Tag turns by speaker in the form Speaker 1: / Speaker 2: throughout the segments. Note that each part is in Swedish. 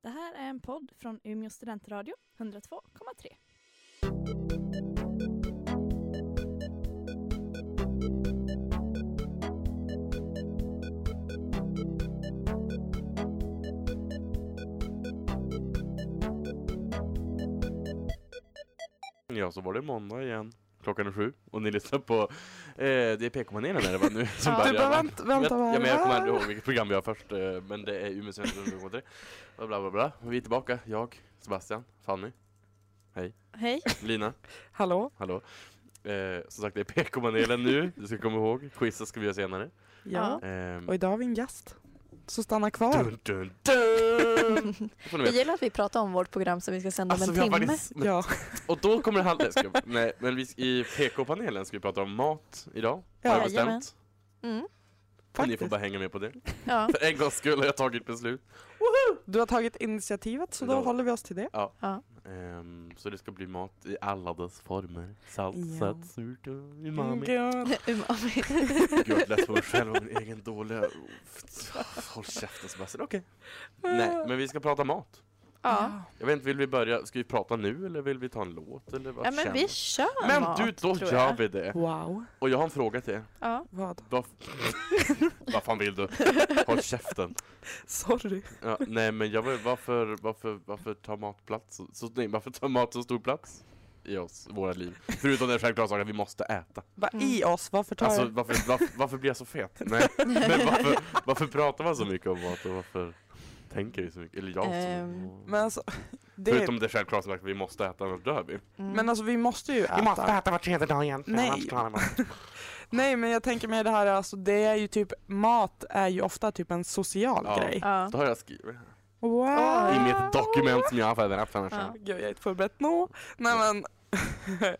Speaker 1: Det här är en podd från Umeå studentradio, 102,3.
Speaker 2: Ja, så var det måndag igen. Klockan är sju och ni lyssnar på eh, det är PK-panelen är det va nu som
Speaker 3: Du bara vänt, vänta
Speaker 2: jag, ja,
Speaker 3: vad
Speaker 2: men jag
Speaker 3: är det
Speaker 2: kommer
Speaker 3: här?
Speaker 2: aldrig ihåg vilket program vi har först eh, men det är Umeå Studenter 102,3. bla bla bla bla. Vi är tillbaka, jag, Sebastian, Fanny,
Speaker 1: Hej!
Speaker 2: Lina,
Speaker 3: Hallå?
Speaker 2: hallå. Eh, som sagt det är PK-panelen nu, du ska komma ihåg. Quizet ska vi göra senare.
Speaker 1: Ja.
Speaker 3: Ja.
Speaker 2: Ehm,
Speaker 3: Och idag har vi en gäst. Så stanna kvar.
Speaker 2: dun, dun, dun. Det får ni
Speaker 4: Det
Speaker 2: veta.
Speaker 4: gillar att vi pratar om vårt program som vi ska sända om
Speaker 2: Alltså,
Speaker 4: en
Speaker 2: vi har
Speaker 4: timme.
Speaker 2: faktiskt,
Speaker 3: Ja,
Speaker 2: och då kommer det handla, Nej, ska- nej men vi, i PK-panelen ska vi prata om mat idag.
Speaker 3: Ja,
Speaker 2: har jag
Speaker 4: jajamän.
Speaker 2: bestämt.
Speaker 4: Mm.
Speaker 2: Och ni får
Speaker 3: faktiskt.
Speaker 2: bara hänga med på det.
Speaker 4: Ja.
Speaker 2: För en gångs skull har jag tagit beslut.
Speaker 3: Du har tagit initiativet så då
Speaker 2: Ja.
Speaker 3: håller vi oss till det.
Speaker 2: Ehm, så det ska bli mat i alla dess former. Salt,
Speaker 3: Ja.
Speaker 2: sött, surt och umami. Gud,
Speaker 3: Ja.
Speaker 4: Umami.
Speaker 2: jag lät på mig själv och min egen dåliga... Håll käften Sebastian, okej. Nej, men vi ska prata mat.
Speaker 4: ja.
Speaker 2: Jag vet inte, vill vi börja? Ska vi prata nu eller vill vi ta en låt? Eller vad
Speaker 4: ja, men
Speaker 2: känner-
Speaker 4: vi kör
Speaker 2: Men
Speaker 4: mat,
Speaker 2: du, då
Speaker 4: tror
Speaker 2: gör
Speaker 4: jag.
Speaker 2: vi det.
Speaker 3: Wow.
Speaker 2: Och jag har en fråga till er.
Speaker 4: Ja.
Speaker 3: Vad?
Speaker 2: Vad Vad fan vill du? Håll käften.
Speaker 3: Sorry.
Speaker 2: Ja, nej men jag vill, varför, varför, varför tar mat plats? Så, så, nej, varför tar mat så stor plats? I oss, våra liv. Förutom den självklara saken att vi måste äta.
Speaker 3: Bara
Speaker 4: Mm.
Speaker 3: i oss, varför tar
Speaker 2: Alltså
Speaker 3: jag?
Speaker 2: varför, varför, varför blir jag så fet? Nej, men varför, varför pratar man så mycket om mat och varför tänker vi så mycket? Eller jag så mycket.
Speaker 4: Ehm,
Speaker 2: om-
Speaker 3: Men alltså, det är,
Speaker 2: Förutom det självklara som att vi måste äta, annars dör vi.
Speaker 4: Mm.
Speaker 3: men alltså vi måste ju äta.
Speaker 2: äta var tredje dag igen.
Speaker 3: Nej. annars klarar Nej men jag tänker mig det här, alltså det är ju typ, mat är ju ofta typ en social
Speaker 2: Ja.
Speaker 3: grej.
Speaker 4: ja.
Speaker 2: Då har jag skrivit
Speaker 3: Wow.
Speaker 2: i mitt dokument som jag har förberett för
Speaker 4: Ja.
Speaker 2: annars.
Speaker 3: Gud jag är inte förberett nå. Nej men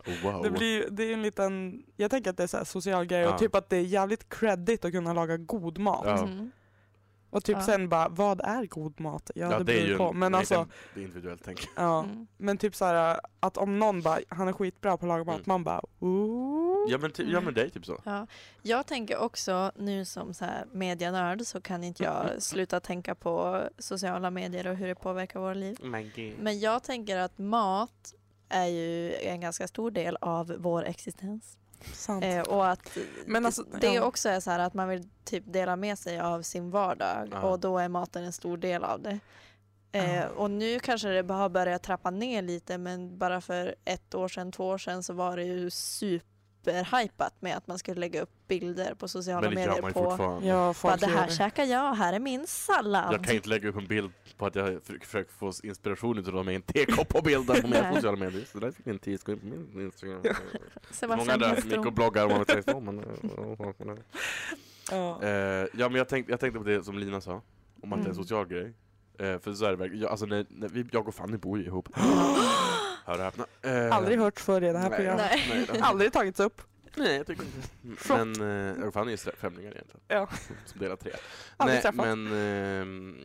Speaker 2: Oh, Wow.
Speaker 3: Det, blir, ju- det är en liten, jag tänker att det är så här social grej
Speaker 2: Ja.
Speaker 3: och typ att det är jävligt creddigt att kunna laga god mat.
Speaker 2: Ja.
Speaker 4: Mhm.
Speaker 3: Och typ
Speaker 4: Ja.
Speaker 3: sen bara, vad är god mat? Ja,
Speaker 2: Ja,
Speaker 3: det beror ju på. Men
Speaker 2: nej,
Speaker 3: alltså,
Speaker 2: det, det är individuellt tänk.
Speaker 3: ja.
Speaker 4: Mm.
Speaker 3: Men typ så här att om någon bara, han är skitbra på att laga mat,
Speaker 2: Mm.
Speaker 3: man bara, ooh.
Speaker 2: Ja men, ty- ja men det är typ så.
Speaker 4: Ja. Jag tänker också, nu som så här medianörd så kan inte
Speaker 2: Mm.
Speaker 4: jag sluta tänka på sociala medier och hur det påverkar våra liv.
Speaker 2: Men gud.
Speaker 4: Men jag tänker att mat är ju en ganska stor del av vår existens.
Speaker 3: Sant.
Speaker 4: Eh, och att
Speaker 3: Men alltså,
Speaker 4: det
Speaker 3: ja.
Speaker 4: också är så här att man vill typ dela med sig av sin vardag
Speaker 2: Ja.
Speaker 4: och då är maten en stor del av det. Eh,
Speaker 3: Ja.
Speaker 4: Och nu kanske det har börjat trappa ner lite men bara för ett år sedan, två år sedan så var det ju superhypat med att man skulle lägga upp bilder på sociala
Speaker 2: Men det gör man
Speaker 4: medier
Speaker 2: ju
Speaker 4: på
Speaker 2: fortfarande.
Speaker 3: ja,
Speaker 4: bara,
Speaker 3: folk
Speaker 4: det
Speaker 3: gör
Speaker 4: här
Speaker 3: det.
Speaker 4: käkar jag, här är min sallad.
Speaker 2: Jag kan inte lägga upp en bild på att jag försöker försöker få inspiration utav dem i en tekopp på bilden på mina
Speaker 4: Nej.
Speaker 2: sociala medier. Så där fick ni en tidskrift på min Instagram. Det är Många
Speaker 4: Sebastian
Speaker 2: där som gick
Speaker 4: Hedström.
Speaker 2: och bloggade om vad man men... eh,
Speaker 3: Ja.
Speaker 2: eh, Ja men jag tänkte, jag tänkte på det som Lina sa, om att det är en
Speaker 4: Mm.
Speaker 2: social grej. Eh, för så är det verkligen, jag, alltså när, när vi, jag och Fanny bor ju ihop. Hör och häpna. Eh,
Speaker 3: Aldrig hört förr i det här
Speaker 2: nej,
Speaker 3: programmet.
Speaker 4: Nej.
Speaker 2: Nej, det-
Speaker 3: Aldrig tagits upp.
Speaker 2: Nej, jag tycker inte
Speaker 3: Chock.
Speaker 2: Men eh, jag och Fanny är strä- främlingar egentligen.
Speaker 3: Ja.
Speaker 2: Som delar tre.
Speaker 3: Aldrig
Speaker 2: Nej,
Speaker 3: träffat.
Speaker 2: men ehm,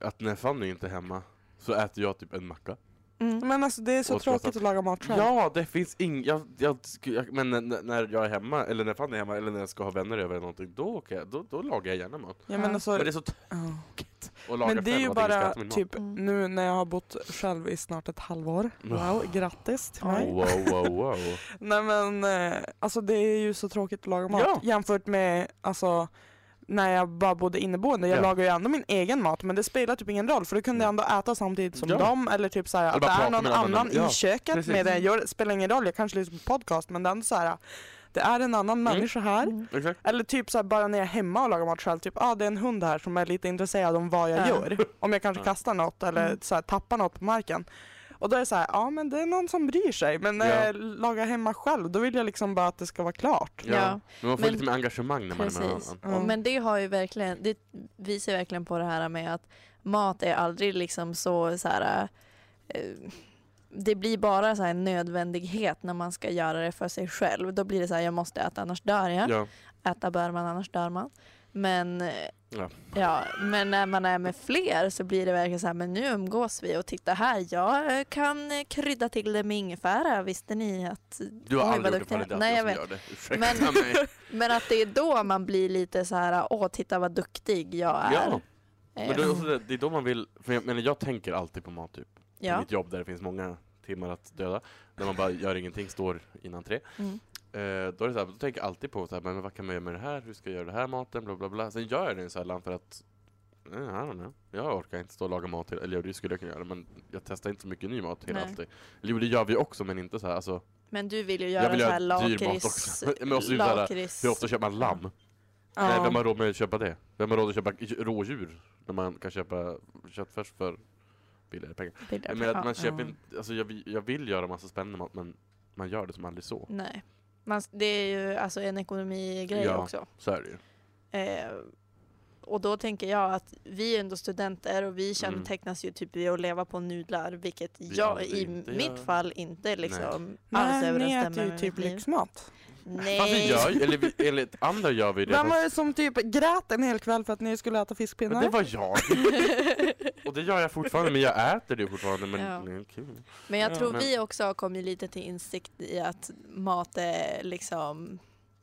Speaker 2: att när Fanny inte är hemma så äter jag typ en macka.
Speaker 4: Mm.
Speaker 3: Men alltså det är så
Speaker 2: Och trots
Speaker 3: tråkigt
Speaker 2: att-
Speaker 3: att laga mat själv.
Speaker 2: Ja, det finns inget. Jag, jag, sku- jag, men när, när jag är hemma, eller när Fanny är hemma, eller när jag ska ha vänner över eller någonting, då, åker jag, då, då lagar jag gärna mat.
Speaker 3: Ja, men
Speaker 4: Ja.
Speaker 3: alltså,
Speaker 2: Men det är så
Speaker 3: ja.
Speaker 2: att laga
Speaker 3: Men det är
Speaker 2: själv, att
Speaker 3: ju
Speaker 2: ingen ska
Speaker 3: bara
Speaker 2: äta min mat.
Speaker 3: typ
Speaker 4: Mm.
Speaker 3: nu när jag har bott själv i snart ett halvår.
Speaker 2: Mm.
Speaker 3: Wow, grattis till mig.
Speaker 2: Wow, wow, wow.
Speaker 3: Nej men eh, alltså det är ju så tråkigt att laga mat
Speaker 2: Ja.
Speaker 3: jämfört med alltså när jag bara bodde inneboende. Jag
Speaker 2: Ja. Mm.
Speaker 3: lagar ju ändå min egen mat men det spelar typ ingen roll för då kunde jag ändå äta samtidigt som
Speaker 2: Ja.
Speaker 3: dem eller typ såhär
Speaker 2: Eller
Speaker 3: att det
Speaker 2: bara
Speaker 3: är
Speaker 2: prata
Speaker 3: någon
Speaker 2: med någon
Speaker 3: annan
Speaker 2: annan. Ja,
Speaker 3: i köket
Speaker 2: precis.
Speaker 3: medan jag gör det. Spelar ingen roll, jag kanske lyssnar på podcast men det är ändå såhär det är en annan människa här.
Speaker 4: Mm.
Speaker 2: Exakt.
Speaker 3: Eller typ såhär bara när jag är hemma och lagar mat själv, typ ah det är en hund här som är lite intresserad om vad jag
Speaker 4: Ja.
Speaker 3: gör. Om jag kanske
Speaker 2: Ja.
Speaker 3: kastar något eller
Speaker 4: Mm.
Speaker 3: så här, tappar något på marken. Och då är det såhär, ja men det är någon som bryr sig. Men när
Speaker 2: Ja.
Speaker 3: jag lagar hemma själv, då vill jag liksom bara att det ska vara klart.
Speaker 2: Ja.
Speaker 4: Ja.
Speaker 2: Men man får
Speaker 4: Men-
Speaker 2: lite mer engagemang när man är med någon
Speaker 4: Precis.
Speaker 2: annan.
Speaker 3: Ja.
Speaker 4: Och, men det har ju verkligen, det visar ju verkligen på det här med att mat är aldrig liksom så, så här, eh, det blir bara så här en nödvändighet när man ska göra det för sig själv. Då blir det så här, jag måste äta annars dör jag.
Speaker 2: Ja.
Speaker 4: Äta bör man annars dör man. Men, eh,
Speaker 2: Ja.
Speaker 4: ja, men när man är med fler så blir det verkligen så här, men nu umgås vi och titta här, jag eh, kan eh, krydda till det med ingefära, visste ni att...
Speaker 2: Du har
Speaker 4: Oj, vad
Speaker 2: aldrig gjort det
Speaker 4: duktig
Speaker 2: förrän det är
Speaker 4: Nej, jag
Speaker 2: alltid jag
Speaker 4: vet.
Speaker 2: som gör det. Ursäkta mig.
Speaker 4: Men att det är Eh. då man blir lite så här, åh titta vad duktig jag är.
Speaker 2: Ja. Men det, är också det, det är då man vill, för jag, menar, jag tänker alltid på mat typ. I
Speaker 4: ja.
Speaker 2: mitt jobb där det finns många timmar att döda. När man bara gör ingenting, står innan tre.
Speaker 4: Mm.
Speaker 2: Eh, då, är det så här, då tänker jag alltid på så här, men vad kan man göra med det här, hur ska jag göra det här maten, bla bla bla. Sen gör jag det sällan för att, eh, I don't know. Jag orkar inte stå och laga mat, till- eller jo, det skulle jag kunna göra, men jag testar inte så mycket ny mat hela
Speaker 4: Nej.
Speaker 2: alltid. Eller jo, det gör vi också, men inte så här, alltså,
Speaker 4: Men du vill ju
Speaker 2: Jag
Speaker 4: göra
Speaker 2: vill
Speaker 4: så
Speaker 2: göra
Speaker 4: här
Speaker 2: dyr mat
Speaker 4: lakrits...
Speaker 2: också. Men också typ så här,
Speaker 4: lakrits-
Speaker 2: hur ofta köper man lamm? Nej, vem har råd med att köpa det? Vem har råd att köpa j- rådjur? När man kan köpa köttfärs för billigare pengar.
Speaker 4: bilder
Speaker 2: Jag menar
Speaker 4: på-
Speaker 2: att man
Speaker 4: ja.
Speaker 2: köper inte, alltså jag, vill- jag vill göra massa spännande mat, men man gör det som aldrig så.
Speaker 4: Nej. Man, det är ju alltså en ekonomigrej
Speaker 2: Ja.
Speaker 4: också.
Speaker 2: Så är det ju.
Speaker 4: Eh, och då tänker jag att vi är ändå studenter och vi kännetecknas ju typ vid att leva på nudlar, vilket
Speaker 2: Mm. Vi
Speaker 4: jag
Speaker 2: aldrig
Speaker 4: i
Speaker 2: inte
Speaker 4: mitt
Speaker 2: gör.
Speaker 4: fall inte liksom alls
Speaker 3: Nej, ni
Speaker 4: överensstämmer
Speaker 3: äter ju
Speaker 4: med
Speaker 3: typ
Speaker 4: mitt liv.
Speaker 3: lyxmat.
Speaker 2: Fast vi
Speaker 4: Nej!
Speaker 2: gör ju, Alltså, eller vi, enligt andra gör vi det.
Speaker 3: Vem
Speaker 2: fast-
Speaker 3: var det som typ grät en hel kväll för att ni skulle äta
Speaker 2: Men det
Speaker 3: fiskpinnar?
Speaker 2: var jag! Och det gör jag fortfarande, men jag äter det fortfarande. Men
Speaker 4: Ja.
Speaker 2: det är kul.
Speaker 4: Men jag
Speaker 3: Ja,
Speaker 4: tror
Speaker 2: men-
Speaker 4: vi också har kommit lite till insikt i att mat är liksom...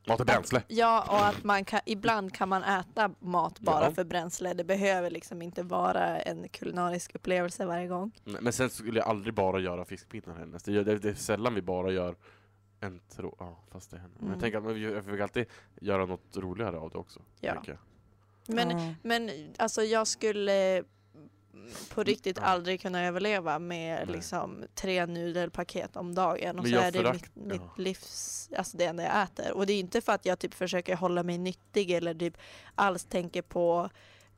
Speaker 2: Mat och bränsle.
Speaker 4: Ja, och att man kan, ibland kan man äta mat bara
Speaker 2: Ja.
Speaker 4: för bränsle. Det behöver liksom inte vara en kulinarisk upplevelse varje gång.
Speaker 2: Nej, Men sen skulle jag aldrig bara göra fiskpinnar hennes. Det, gör- det, det är sällan vi bara gör en tro... Ja, fast det händer. Men
Speaker 4: Mm.
Speaker 2: jag tänker att men vi jag försöker alltid göra något roligare av det också.
Speaker 4: Ja.
Speaker 2: tänker jag.
Speaker 4: Men
Speaker 3: Ja.
Speaker 4: Men alltså jag skulle eh, på riktigt
Speaker 2: Ja.
Speaker 4: aldrig kunna överleva med
Speaker 2: Nej.
Speaker 4: liksom tre nudelpaket om dagen och
Speaker 2: Men
Speaker 4: så
Speaker 2: jag
Speaker 4: är det
Speaker 2: förakt-
Speaker 4: mitt, mitt
Speaker 2: ja.
Speaker 4: livs, alltså det enda jag äter. Och det är inte för att jag typ försöker hålla mig nyttig eller typ alls tänker på,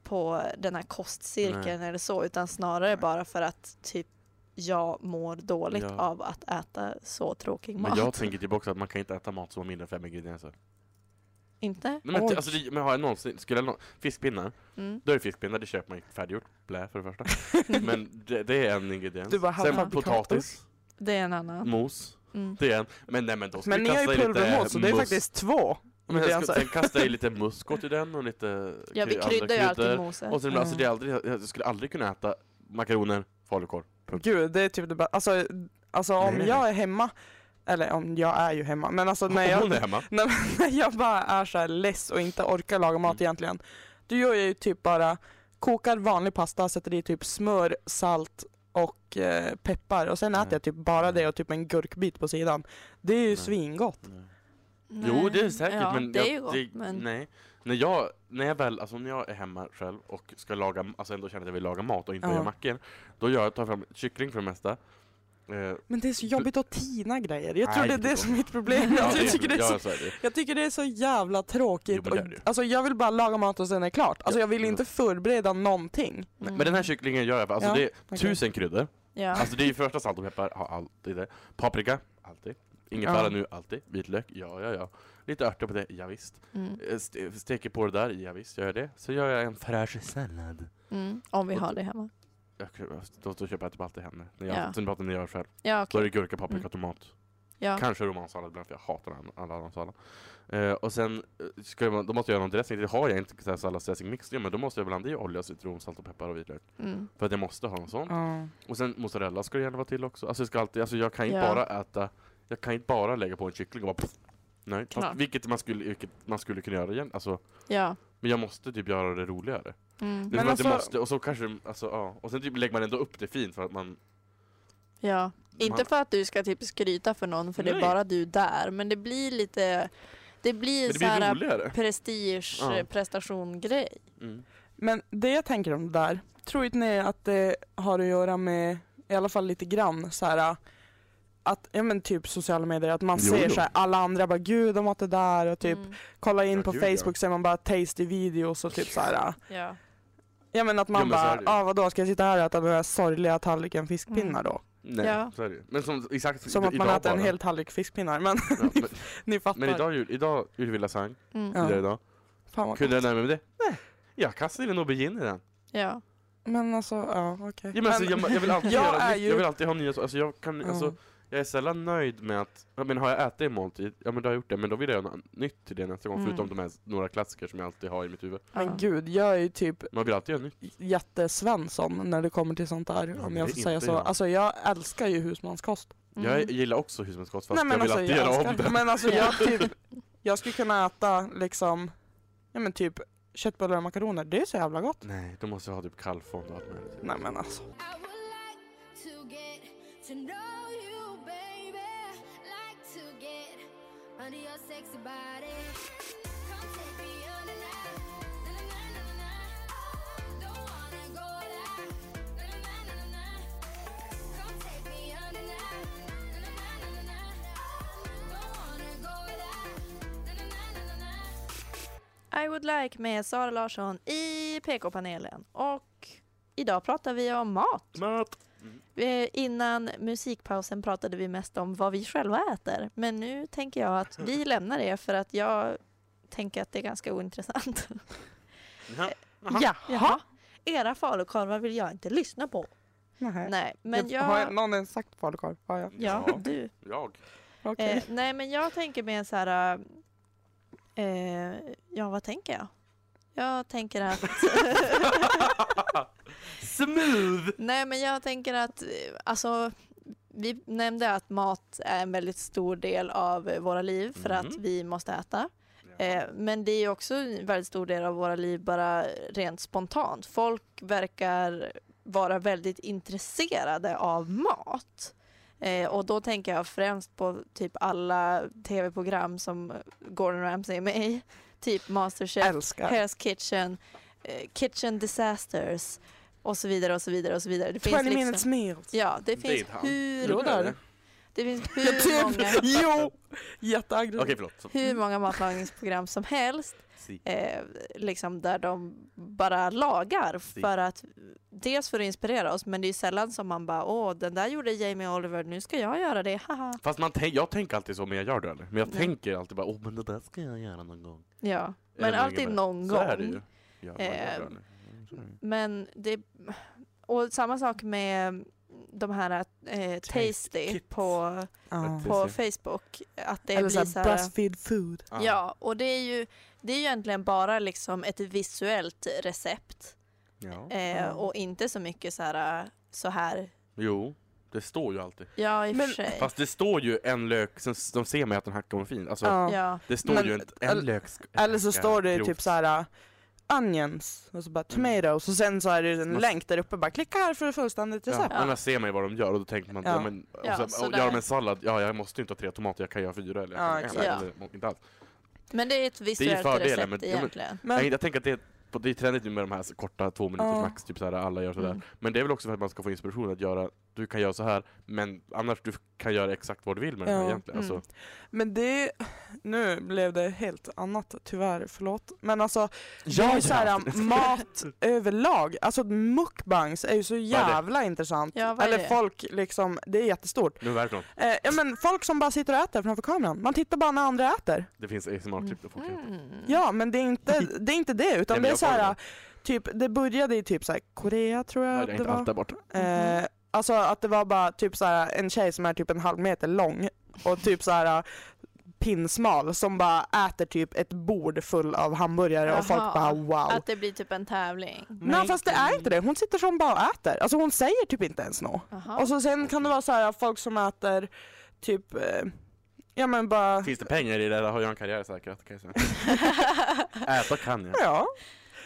Speaker 4: på den här kostcirkeln eller så utan snarare bara för att typ jag mår dåligt
Speaker 2: Ja.
Speaker 4: av att äta så tråkig mat.
Speaker 2: Men jag tänker tillbaka också att man kan inte äta mat som har mindre än fem ingredienser.
Speaker 4: Inte?
Speaker 2: Nej, men,
Speaker 3: Oj.
Speaker 2: t- alltså, det, men har jag någonsin... Skulle jag nå- fiskpinnar,
Speaker 4: Mm.
Speaker 2: då är det fiskpinnar, det köper man ju färdiggjort. Blä för det första. men det, det är en ingrediens.
Speaker 3: Du bara
Speaker 2: Sen
Speaker 3: halvfabrikator.
Speaker 2: potatis,
Speaker 4: Det är en annan.
Speaker 2: mos,
Speaker 4: Mm.
Speaker 2: det är en. Men nej men då ska
Speaker 3: Men
Speaker 2: vi
Speaker 3: ni har
Speaker 2: kasta
Speaker 3: ju
Speaker 2: i lite
Speaker 3: pulvermål så det är
Speaker 2: must.
Speaker 3: faktiskt två.
Speaker 2: Men
Speaker 3: Det är
Speaker 2: jag
Speaker 3: alltså-
Speaker 2: ska, sen kastar jag i lite muskot i den och lite
Speaker 4: Ja vi
Speaker 2: kry- andra
Speaker 4: kryddar ju alltid Mm.
Speaker 2: kryddor.
Speaker 4: moset.
Speaker 2: Och sen, alltså, det är aldrig, jag skulle aldrig kunna äta makaroner, falukorv. Punkt.
Speaker 3: Gud, det är typ det bästa. Alltså, alltså om
Speaker 2: Nej.
Speaker 3: jag är hemma, eller om jag är ju hemma, men alltså när
Speaker 2: Om
Speaker 3: jag,
Speaker 2: Hon är hemma.
Speaker 3: Nej, men när jag bara är så här less och inte orkar laga mat
Speaker 2: Mm.
Speaker 3: egentligen. Då gör jag ju typ bara kokar vanlig pasta, sätter i typ smör, salt och eh, peppar och sen
Speaker 2: Nej.
Speaker 3: äter jag typ bara
Speaker 2: Mm.
Speaker 3: det och typ en gurkbit på sidan. Det är ju
Speaker 2: Nej.
Speaker 3: svingott.
Speaker 2: Jo,
Speaker 4: Nej.
Speaker 2: det är säkert,
Speaker 4: ja,
Speaker 2: men,
Speaker 4: det
Speaker 2: jag,
Speaker 4: är ju gott, men...
Speaker 2: nej. När jag, när jag väl, alltså när jag är hemma själv och ska laga, alltså ändå känner att jag vill laga mat och inte
Speaker 3: Ja.
Speaker 2: göra mackor, då gör jag, tar jag fram kyckling för det mesta. Eh,
Speaker 3: Men det är så jobbigt att tina grejer. Jag
Speaker 2: Nej,
Speaker 3: tror det är
Speaker 2: det är
Speaker 3: det som är mitt problem.
Speaker 2: ja,
Speaker 3: Alltså, jag, tycker det är
Speaker 2: ja,
Speaker 3: så,
Speaker 2: så är det.
Speaker 3: jag tycker det är så jävla tråkigt.
Speaker 2: Jo, men det är det ju.
Speaker 3: och, alltså, jag vill bara laga mat och sen är det klart. Alltså,
Speaker 2: Ja,
Speaker 3: jag vill
Speaker 2: jo.
Speaker 3: inte förbereda någonting.
Speaker 2: Nej, Men den här kycklingen gör jag, alltså
Speaker 3: Mm. Ja,
Speaker 2: det är
Speaker 3: okej.
Speaker 2: tusen kryddor.
Speaker 4: Mm. Ja.
Speaker 2: Alltså det är ju första salt och peppar, har alltid det. Paprika, alltid. Ingefära
Speaker 3: Ja.
Speaker 2: nu, alltid. Vitlök, ja ja ja. Lite örter på det, ja, visst.
Speaker 4: Mm.
Speaker 2: Eh, Ste steker på det där, ja, visst gör jag det. Så gör jag en fräsch sallad.
Speaker 4: Mm. Om vi
Speaker 2: Och-
Speaker 4: har det hemma.
Speaker 2: Jag, då, då köper jag typ alltid henne. När jag,
Speaker 4: Ja.
Speaker 2: Sen pratar när jag gör själv.
Speaker 4: Ja,
Speaker 2: Då är
Speaker 4: okej.
Speaker 2: det gurka, paprika,
Speaker 4: Mm.
Speaker 2: tomat.
Speaker 4: Ja.
Speaker 2: Kanske romansallad ibland, för jag hatar all- all annan sallad. Eh, och sen, eh, ska jag, då måste jag göra någon dressing. Det har jag inte, så här salladsdressing mix. Ja, men då måste jag blanda i olja, citron, salt och peppar och vitlök.
Speaker 4: Mm.
Speaker 2: För att jag måste ha något sånt.
Speaker 3: Ja.
Speaker 2: Och sen mozzarella ska det gärna vara till också. Alltså jag, ska alltid, alltså jag kan inte
Speaker 4: Ja.
Speaker 2: bara äta, jag kan inte bara lägga på en kyckling och bara pff, Nej,
Speaker 4: Klart.
Speaker 2: fast, vilket, man skulle, vilket man skulle kunna göra igen. Alltså,
Speaker 4: Ja. men
Speaker 2: men jag måste typ göra det roligare.
Speaker 4: Mm.
Speaker 2: Det är som
Speaker 3: Men
Speaker 2: att
Speaker 3: alltså-
Speaker 2: jag måste, och så kanske, alltså ja. Och sen typ lägger man ändå upp det fint för att man...
Speaker 4: Ja. Inte
Speaker 2: man,
Speaker 4: för att du ska typ skryta för någon för det är
Speaker 2: Nej.
Speaker 4: bara du där men det blir lite det blir,
Speaker 2: men det
Speaker 4: så
Speaker 2: blir
Speaker 4: här
Speaker 2: roligare.
Speaker 4: prestige
Speaker 2: Ja.
Speaker 4: eh, prestationgrej.
Speaker 2: Mm.
Speaker 3: Men det jag tänker om det där, tror inte ni att det har att göra med, i alla fall lite grann, så här, att, ja men typ sociala medier, att man
Speaker 2: Jo,
Speaker 3: ser
Speaker 2: jo.
Speaker 3: så här, alla andra bara gud de åt det där och typ
Speaker 4: Mm.
Speaker 3: kolla in
Speaker 2: Ja,
Speaker 3: på
Speaker 2: gud, ja.
Speaker 3: Facebook ser man bara tasty videos och typ så här.
Speaker 4: Ja.
Speaker 3: Ja men att man
Speaker 2: Ja, men så är
Speaker 3: bara,
Speaker 2: det ju.
Speaker 3: ah, vadå ska jag sitta här och äta den här sorgliga tallriken fiskpinnar då?
Speaker 2: Nej,
Speaker 4: Ja.
Speaker 2: så är det ju. Men som, exakt
Speaker 3: Som
Speaker 2: i-
Speaker 3: att
Speaker 2: Mm.
Speaker 3: man
Speaker 2: idag
Speaker 3: äter en
Speaker 2: bara.
Speaker 3: hel tallrik fiskpinnar men
Speaker 2: Ja, men,
Speaker 3: ni fattar.
Speaker 2: men idag gjorde idag, gjorde vi lasagne,
Speaker 4: Mm.
Speaker 3: Ja.
Speaker 2: tidigare idag.
Speaker 3: Fan vad
Speaker 2: Kunde jag nöja mig med det? Nej. Jag kastade in en aubergine i den.
Speaker 4: Ja.
Speaker 3: Men alltså, ja okej.
Speaker 2: Ja, men, alltså, jag, jag, vill alltid
Speaker 3: Jag
Speaker 2: göra,
Speaker 3: är
Speaker 2: nytt.
Speaker 3: ju-
Speaker 2: jag vill alltid ha nya alltså, jag, kan,
Speaker 3: Ja.
Speaker 2: alltså, jag är sällan nöjd med att, ja, men har jag ätit en måltid, ja men då har jag gjort det, men då vill jag göra något nytt till det nästa gång,
Speaker 4: Mm.
Speaker 2: förutom de här några klassiker som jag alltid har i mitt huvud.
Speaker 4: Ja.
Speaker 3: Men gud, jag är ju typ
Speaker 2: Man vill alltid göra nytt.
Speaker 3: jättesvensson när det kommer till sånt där
Speaker 2: Ja,
Speaker 3: om
Speaker 2: men
Speaker 3: jag
Speaker 2: det är
Speaker 3: får säga
Speaker 2: inte
Speaker 3: så.
Speaker 2: jag.
Speaker 3: Alltså jag älskar ju husmanskost.
Speaker 4: Mm.
Speaker 2: Jag gillar också husmanskost, fast jag vill
Speaker 3: alltså,
Speaker 2: alltid göra om
Speaker 3: älskar-
Speaker 2: det.
Speaker 3: Men alltså
Speaker 4: Ja.
Speaker 3: jag typ, jag skulle kunna äta liksom, ja men typ köttbullar och makaroner, det är så jävla gott.
Speaker 2: Nej, då måste vi ha typ kallfond och allt möjligt.
Speaker 3: Nej men alltså.
Speaker 5: I would like to get to know you, baby. Like to get under your sexy body. Come take me on a night. Na, na, na, na, na. Oh, Don't wanna go out. Na, na, na, na, na. Come take me on a night. Na, na, na, na, na, na. Don't wanna go out. Na, na, na, na, na, na.
Speaker 4: I would like med Sara Larsson i PK-panelen. Och idag pratar vi om mat.
Speaker 2: Mat!
Speaker 4: Eh, Innan musikpausen pratade vi mest om vad vi själva äter. Men nu tänker jag att vi lämnar det för att jag tänker att det är ganska ointressant.
Speaker 2: Ja.
Speaker 4: Jaha. Jaha. Era falukorvar vill jag inte lyssna på.
Speaker 3: Nej.
Speaker 4: Nej, men
Speaker 3: Har jag
Speaker 4: jag...
Speaker 3: någon ens sagt falukorv? Har jag?
Speaker 4: Ja, du.
Speaker 2: Jag.
Speaker 3: Okej.
Speaker 4: Eh, nej, men jag tänker mer så här... eh, Eh, ja, vad tänker jag? Jag tänker att...
Speaker 2: Smooth!
Speaker 4: nej, men jag tänker att... eh, Alltså, vi nämnde att mat är en väldigt stor del av eh, våra liv för att
Speaker 2: Mhm.
Speaker 4: vi måste äta. Eh, men det är ju också en väldigt stor del av våra liv bara rent spontant. Folk verkar vara väldigt intresserade av mat. Eh, och då tänker jag främst på typ alla tv-program som Gordon Ramsay är med i. Typ Masterchef,
Speaker 3: Älskar.
Speaker 4: Hell's Kitchen, eh, Kitchen Disasters och så vidare och så vidare och så vidare. Det
Speaker 3: 20
Speaker 4: finns
Speaker 3: minutes
Speaker 4: liksom,
Speaker 3: meals.
Speaker 4: Ja, det
Speaker 2: Det
Speaker 4: finns
Speaker 2: är han.
Speaker 4: hur,
Speaker 3: Jo, det är det.
Speaker 4: det finns
Speaker 3: Ja,
Speaker 4: hur
Speaker 3: typ.
Speaker 4: många,
Speaker 3: Jo!
Speaker 2: Okej,
Speaker 3: Jätteaggressiv.
Speaker 2: förlåt. Så-
Speaker 4: hur många matlagningsprogram som helst
Speaker 2: Si.
Speaker 4: eh, liksom där de bara lagar för att dels för att inspirera oss men det är ju sällan som man bara åh den där gjorde Jamie Oliver nu ska jag göra det haha.
Speaker 2: Fast man tän- jag tänker alltid så, men jag gör det aldrig. Men jag
Speaker 4: Nej.
Speaker 2: tänker alltid bara, åh men det där ska jag göra någon gång.
Speaker 4: Ja, men
Speaker 2: Eller
Speaker 4: alltid
Speaker 2: ungefär.
Speaker 4: någon
Speaker 2: Så är det
Speaker 4: gång.
Speaker 2: ju. Ja, man gör det
Speaker 4: Eh,
Speaker 2: aldrig. Mm, så är det ju.
Speaker 4: Men det och samma sak med de här eh, Tasty
Speaker 3: Kids.
Speaker 4: på,
Speaker 3: Ja.
Speaker 2: Ett-
Speaker 4: på Facebook. Att det
Speaker 3: Eller
Speaker 4: blir
Speaker 3: såhär
Speaker 4: så här,
Speaker 3: Buzzfeed food.
Speaker 2: Ah.
Speaker 4: Ja, och det är ju det är ju egentligen bara liksom ett visuellt recept
Speaker 2: ja.
Speaker 4: eh,
Speaker 3: Mm.
Speaker 4: och inte så mycket så här, så här
Speaker 2: Jo, det står ju alltid.
Speaker 4: Ja, i och
Speaker 3: Men-
Speaker 4: för sig.
Speaker 2: Fast det står ju en lök, sen s- de ser mig att den här kommer fin. Alltså,
Speaker 3: Ja.
Speaker 4: Ja.
Speaker 2: det står
Speaker 3: Men-
Speaker 2: ju en, en
Speaker 3: eller-
Speaker 2: lök.
Speaker 3: Eller så står det typ så här onions och så
Speaker 2: Mm.
Speaker 3: bara tomatoes och sen så är det en
Speaker 2: Man-
Speaker 3: länk där uppe bara klicka här för fullständigt
Speaker 2: Ja,
Speaker 3: recept.
Speaker 4: Ja.
Speaker 2: men där ser man ju vad de gör och då tänker man, ja.
Speaker 3: Ja.
Speaker 2: men, och
Speaker 4: Ja,
Speaker 2: sen,
Speaker 4: så
Speaker 2: och
Speaker 4: där.
Speaker 2: gör de en sallad, ja jag måste ju inte ha tre tomater, jag kan göra fyra eller, jag
Speaker 3: Ja,
Speaker 2: kan-
Speaker 4: exakt.
Speaker 2: eller, eller inte alls.
Speaker 4: Men det är ett visuellt
Speaker 2: fördelen,
Speaker 4: recept
Speaker 2: men- ja, men-
Speaker 4: egentligen.
Speaker 2: Nej,
Speaker 3: Men
Speaker 2: jag tänker att det är, på- det är trendigt nu med de här så korta två minuter
Speaker 3: Ja.
Speaker 2: max, typ så här, alla gör sådär.
Speaker 4: Mm.
Speaker 2: Men det är väl också för att man ska få inspiration att göra, du kan göra så här, men annars du kan göra exakt vad du vill med den här
Speaker 3: Ja.
Speaker 2: egentligen. Alltså,
Speaker 4: Mm.
Speaker 3: Men det, nu blev det helt annat tyvärr, förlåt. Men alltså, det är ju så här, äh, mat överlag, alltså mukbangs är ju så jävla intressant.
Speaker 4: Ja, vad är
Speaker 3: Eller
Speaker 4: det?
Speaker 3: folk liksom, det är jättestort.
Speaker 2: Nu är det verkligen.
Speaker 3: Eh, ja, men folk som bara sitter och äter framför kameran, man tittar bara när andra äter.
Speaker 2: Det finns ASMR-klipp där folk äter.
Speaker 4: Mm.
Speaker 3: Ja men det är inte det, är inte det utan
Speaker 2: Nej, men
Speaker 3: det är
Speaker 2: jag
Speaker 3: så
Speaker 2: får
Speaker 3: här,
Speaker 2: det.
Speaker 3: typ, det började i typ så här, Korea tror
Speaker 2: Ja,
Speaker 3: jag
Speaker 2: det är inte allt där borta.
Speaker 3: Eh, alltså att det var bara typ så här, en tjej som är typ en halv meter lång och typ så här pinsmal som bara äter typ ett bord full av hamburgare och folk
Speaker 4: Jaha.
Speaker 3: bara wow.
Speaker 4: Att det blir typ en tävling.
Speaker 3: Nej fast det är inte det, hon sitter som bara och äter. Alltså hon säger typ inte ens nå.
Speaker 4: Jaha.
Speaker 3: Och så sen kan det vara så här folk som äter typ, eh, ja men bara,
Speaker 2: Finns det pengar i det, där har jag en karriär säkert. Kan jag säga. Äta kan jag.
Speaker 3: ja.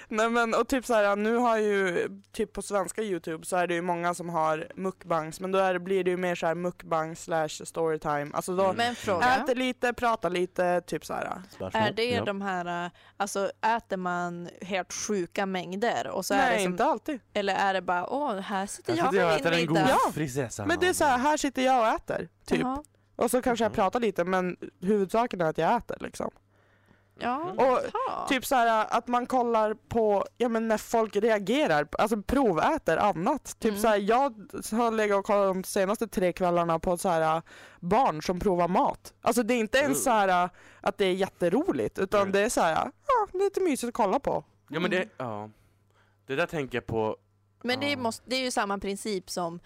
Speaker 3: Nej men och typ så här nu har ju, typ på svenska youtube så är det ju många som har mukbangs men då är det, blir det ju mer så här mukbang slash storytime. Alltså då,
Speaker 4: Men fråga,
Speaker 3: Äter lite, pratar lite, typ så här.
Speaker 4: är det
Speaker 2: Ja.
Speaker 4: de här, äh, alltså äter man helt sjuka mängder och så
Speaker 3: Nej,
Speaker 4: är det som,
Speaker 3: inte alltid.
Speaker 4: eller är det bara åh, här sitter
Speaker 2: Här
Speaker 4: jag
Speaker 2: sitter jag
Speaker 4: med
Speaker 2: och äter
Speaker 4: min
Speaker 2: en
Speaker 4: middag.
Speaker 3: Ja.
Speaker 2: god prinsessa.
Speaker 3: Men det är så här, här sitter jag och äter, typ.
Speaker 4: Jaha.
Speaker 3: Och så kanske jag
Speaker 2: Mhm.
Speaker 3: pratar lite, men huvudsaken är att jag äter liksom.
Speaker 4: Ja.
Speaker 2: Mm.
Speaker 3: Och
Speaker 4: Ja.
Speaker 3: typ så här att man kollar på, ja men när folk reagerar, alltså proväter annat. Typ
Speaker 4: Mm.
Speaker 3: så här, jag har legat och kollat de senaste tre kvällarna på så här barn som provar mat. Alltså det är inte ens så här att det är jätteroligt, utan
Speaker 2: Mm.
Speaker 3: det är så här, ja, lite mysigt att kolla på.
Speaker 2: Ja men det, ja. Det där tänker jag på,
Speaker 4: Men det,
Speaker 2: Ja.
Speaker 4: måste, det är ju samma princip som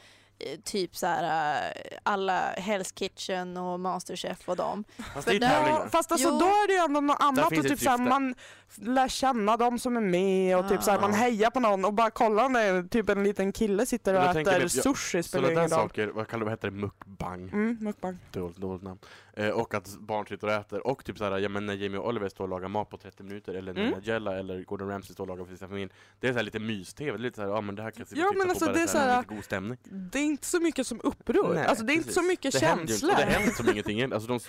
Speaker 4: eh, typ så här eh, alla Hell's Kitchen och Masterchef och dem.
Speaker 2: Fast det är ju
Speaker 4: För där-
Speaker 2: tävling
Speaker 3: Ja,
Speaker 2: där.
Speaker 3: fast alltså
Speaker 4: Jo.
Speaker 3: då är det ju ändå något annat
Speaker 2: finns
Speaker 3: och
Speaker 2: ett
Speaker 3: typ såhär,
Speaker 2: syfte.
Speaker 3: man f- lär känna de som är med och typ såhär, man
Speaker 2: Ah.
Speaker 3: hejar på någon och bara kollar när typ en liten kille sitter och
Speaker 2: Men jag tänker
Speaker 3: äter
Speaker 2: typ, ja,
Speaker 3: sushi spelar
Speaker 2: Sådana
Speaker 3: ingen
Speaker 2: där
Speaker 3: roll.
Speaker 2: saker, vad kallar vad heter det, mukbang?
Speaker 3: Mm, mukbang.
Speaker 2: Dåligt, dåligt namn. Eh, och att barn sitter och äter. Och typ såhär, ja men när Jamie och Oliver står och lagar mat på 30 minuter, eller när
Speaker 3: Mm.
Speaker 2: Nigella eller Gordon Ramsay står och lagar för sin familj. Det är såhär lite mys-tv, lite såhär, ja men det här kan jag sitta
Speaker 3: Ja,
Speaker 2: och titta
Speaker 3: men
Speaker 2: på
Speaker 3: alltså,
Speaker 2: bara
Speaker 3: det är
Speaker 2: såhär,
Speaker 3: såhär-
Speaker 2: lite god stämning.
Speaker 3: Det är inte så mycket som uppror,
Speaker 2: Nej,
Speaker 3: alltså det är inte så
Speaker 2: precis.
Speaker 3: mycket
Speaker 2: händer ju inte.
Speaker 3: känslor.
Speaker 2: Och det händer som ingenting. Alltså de,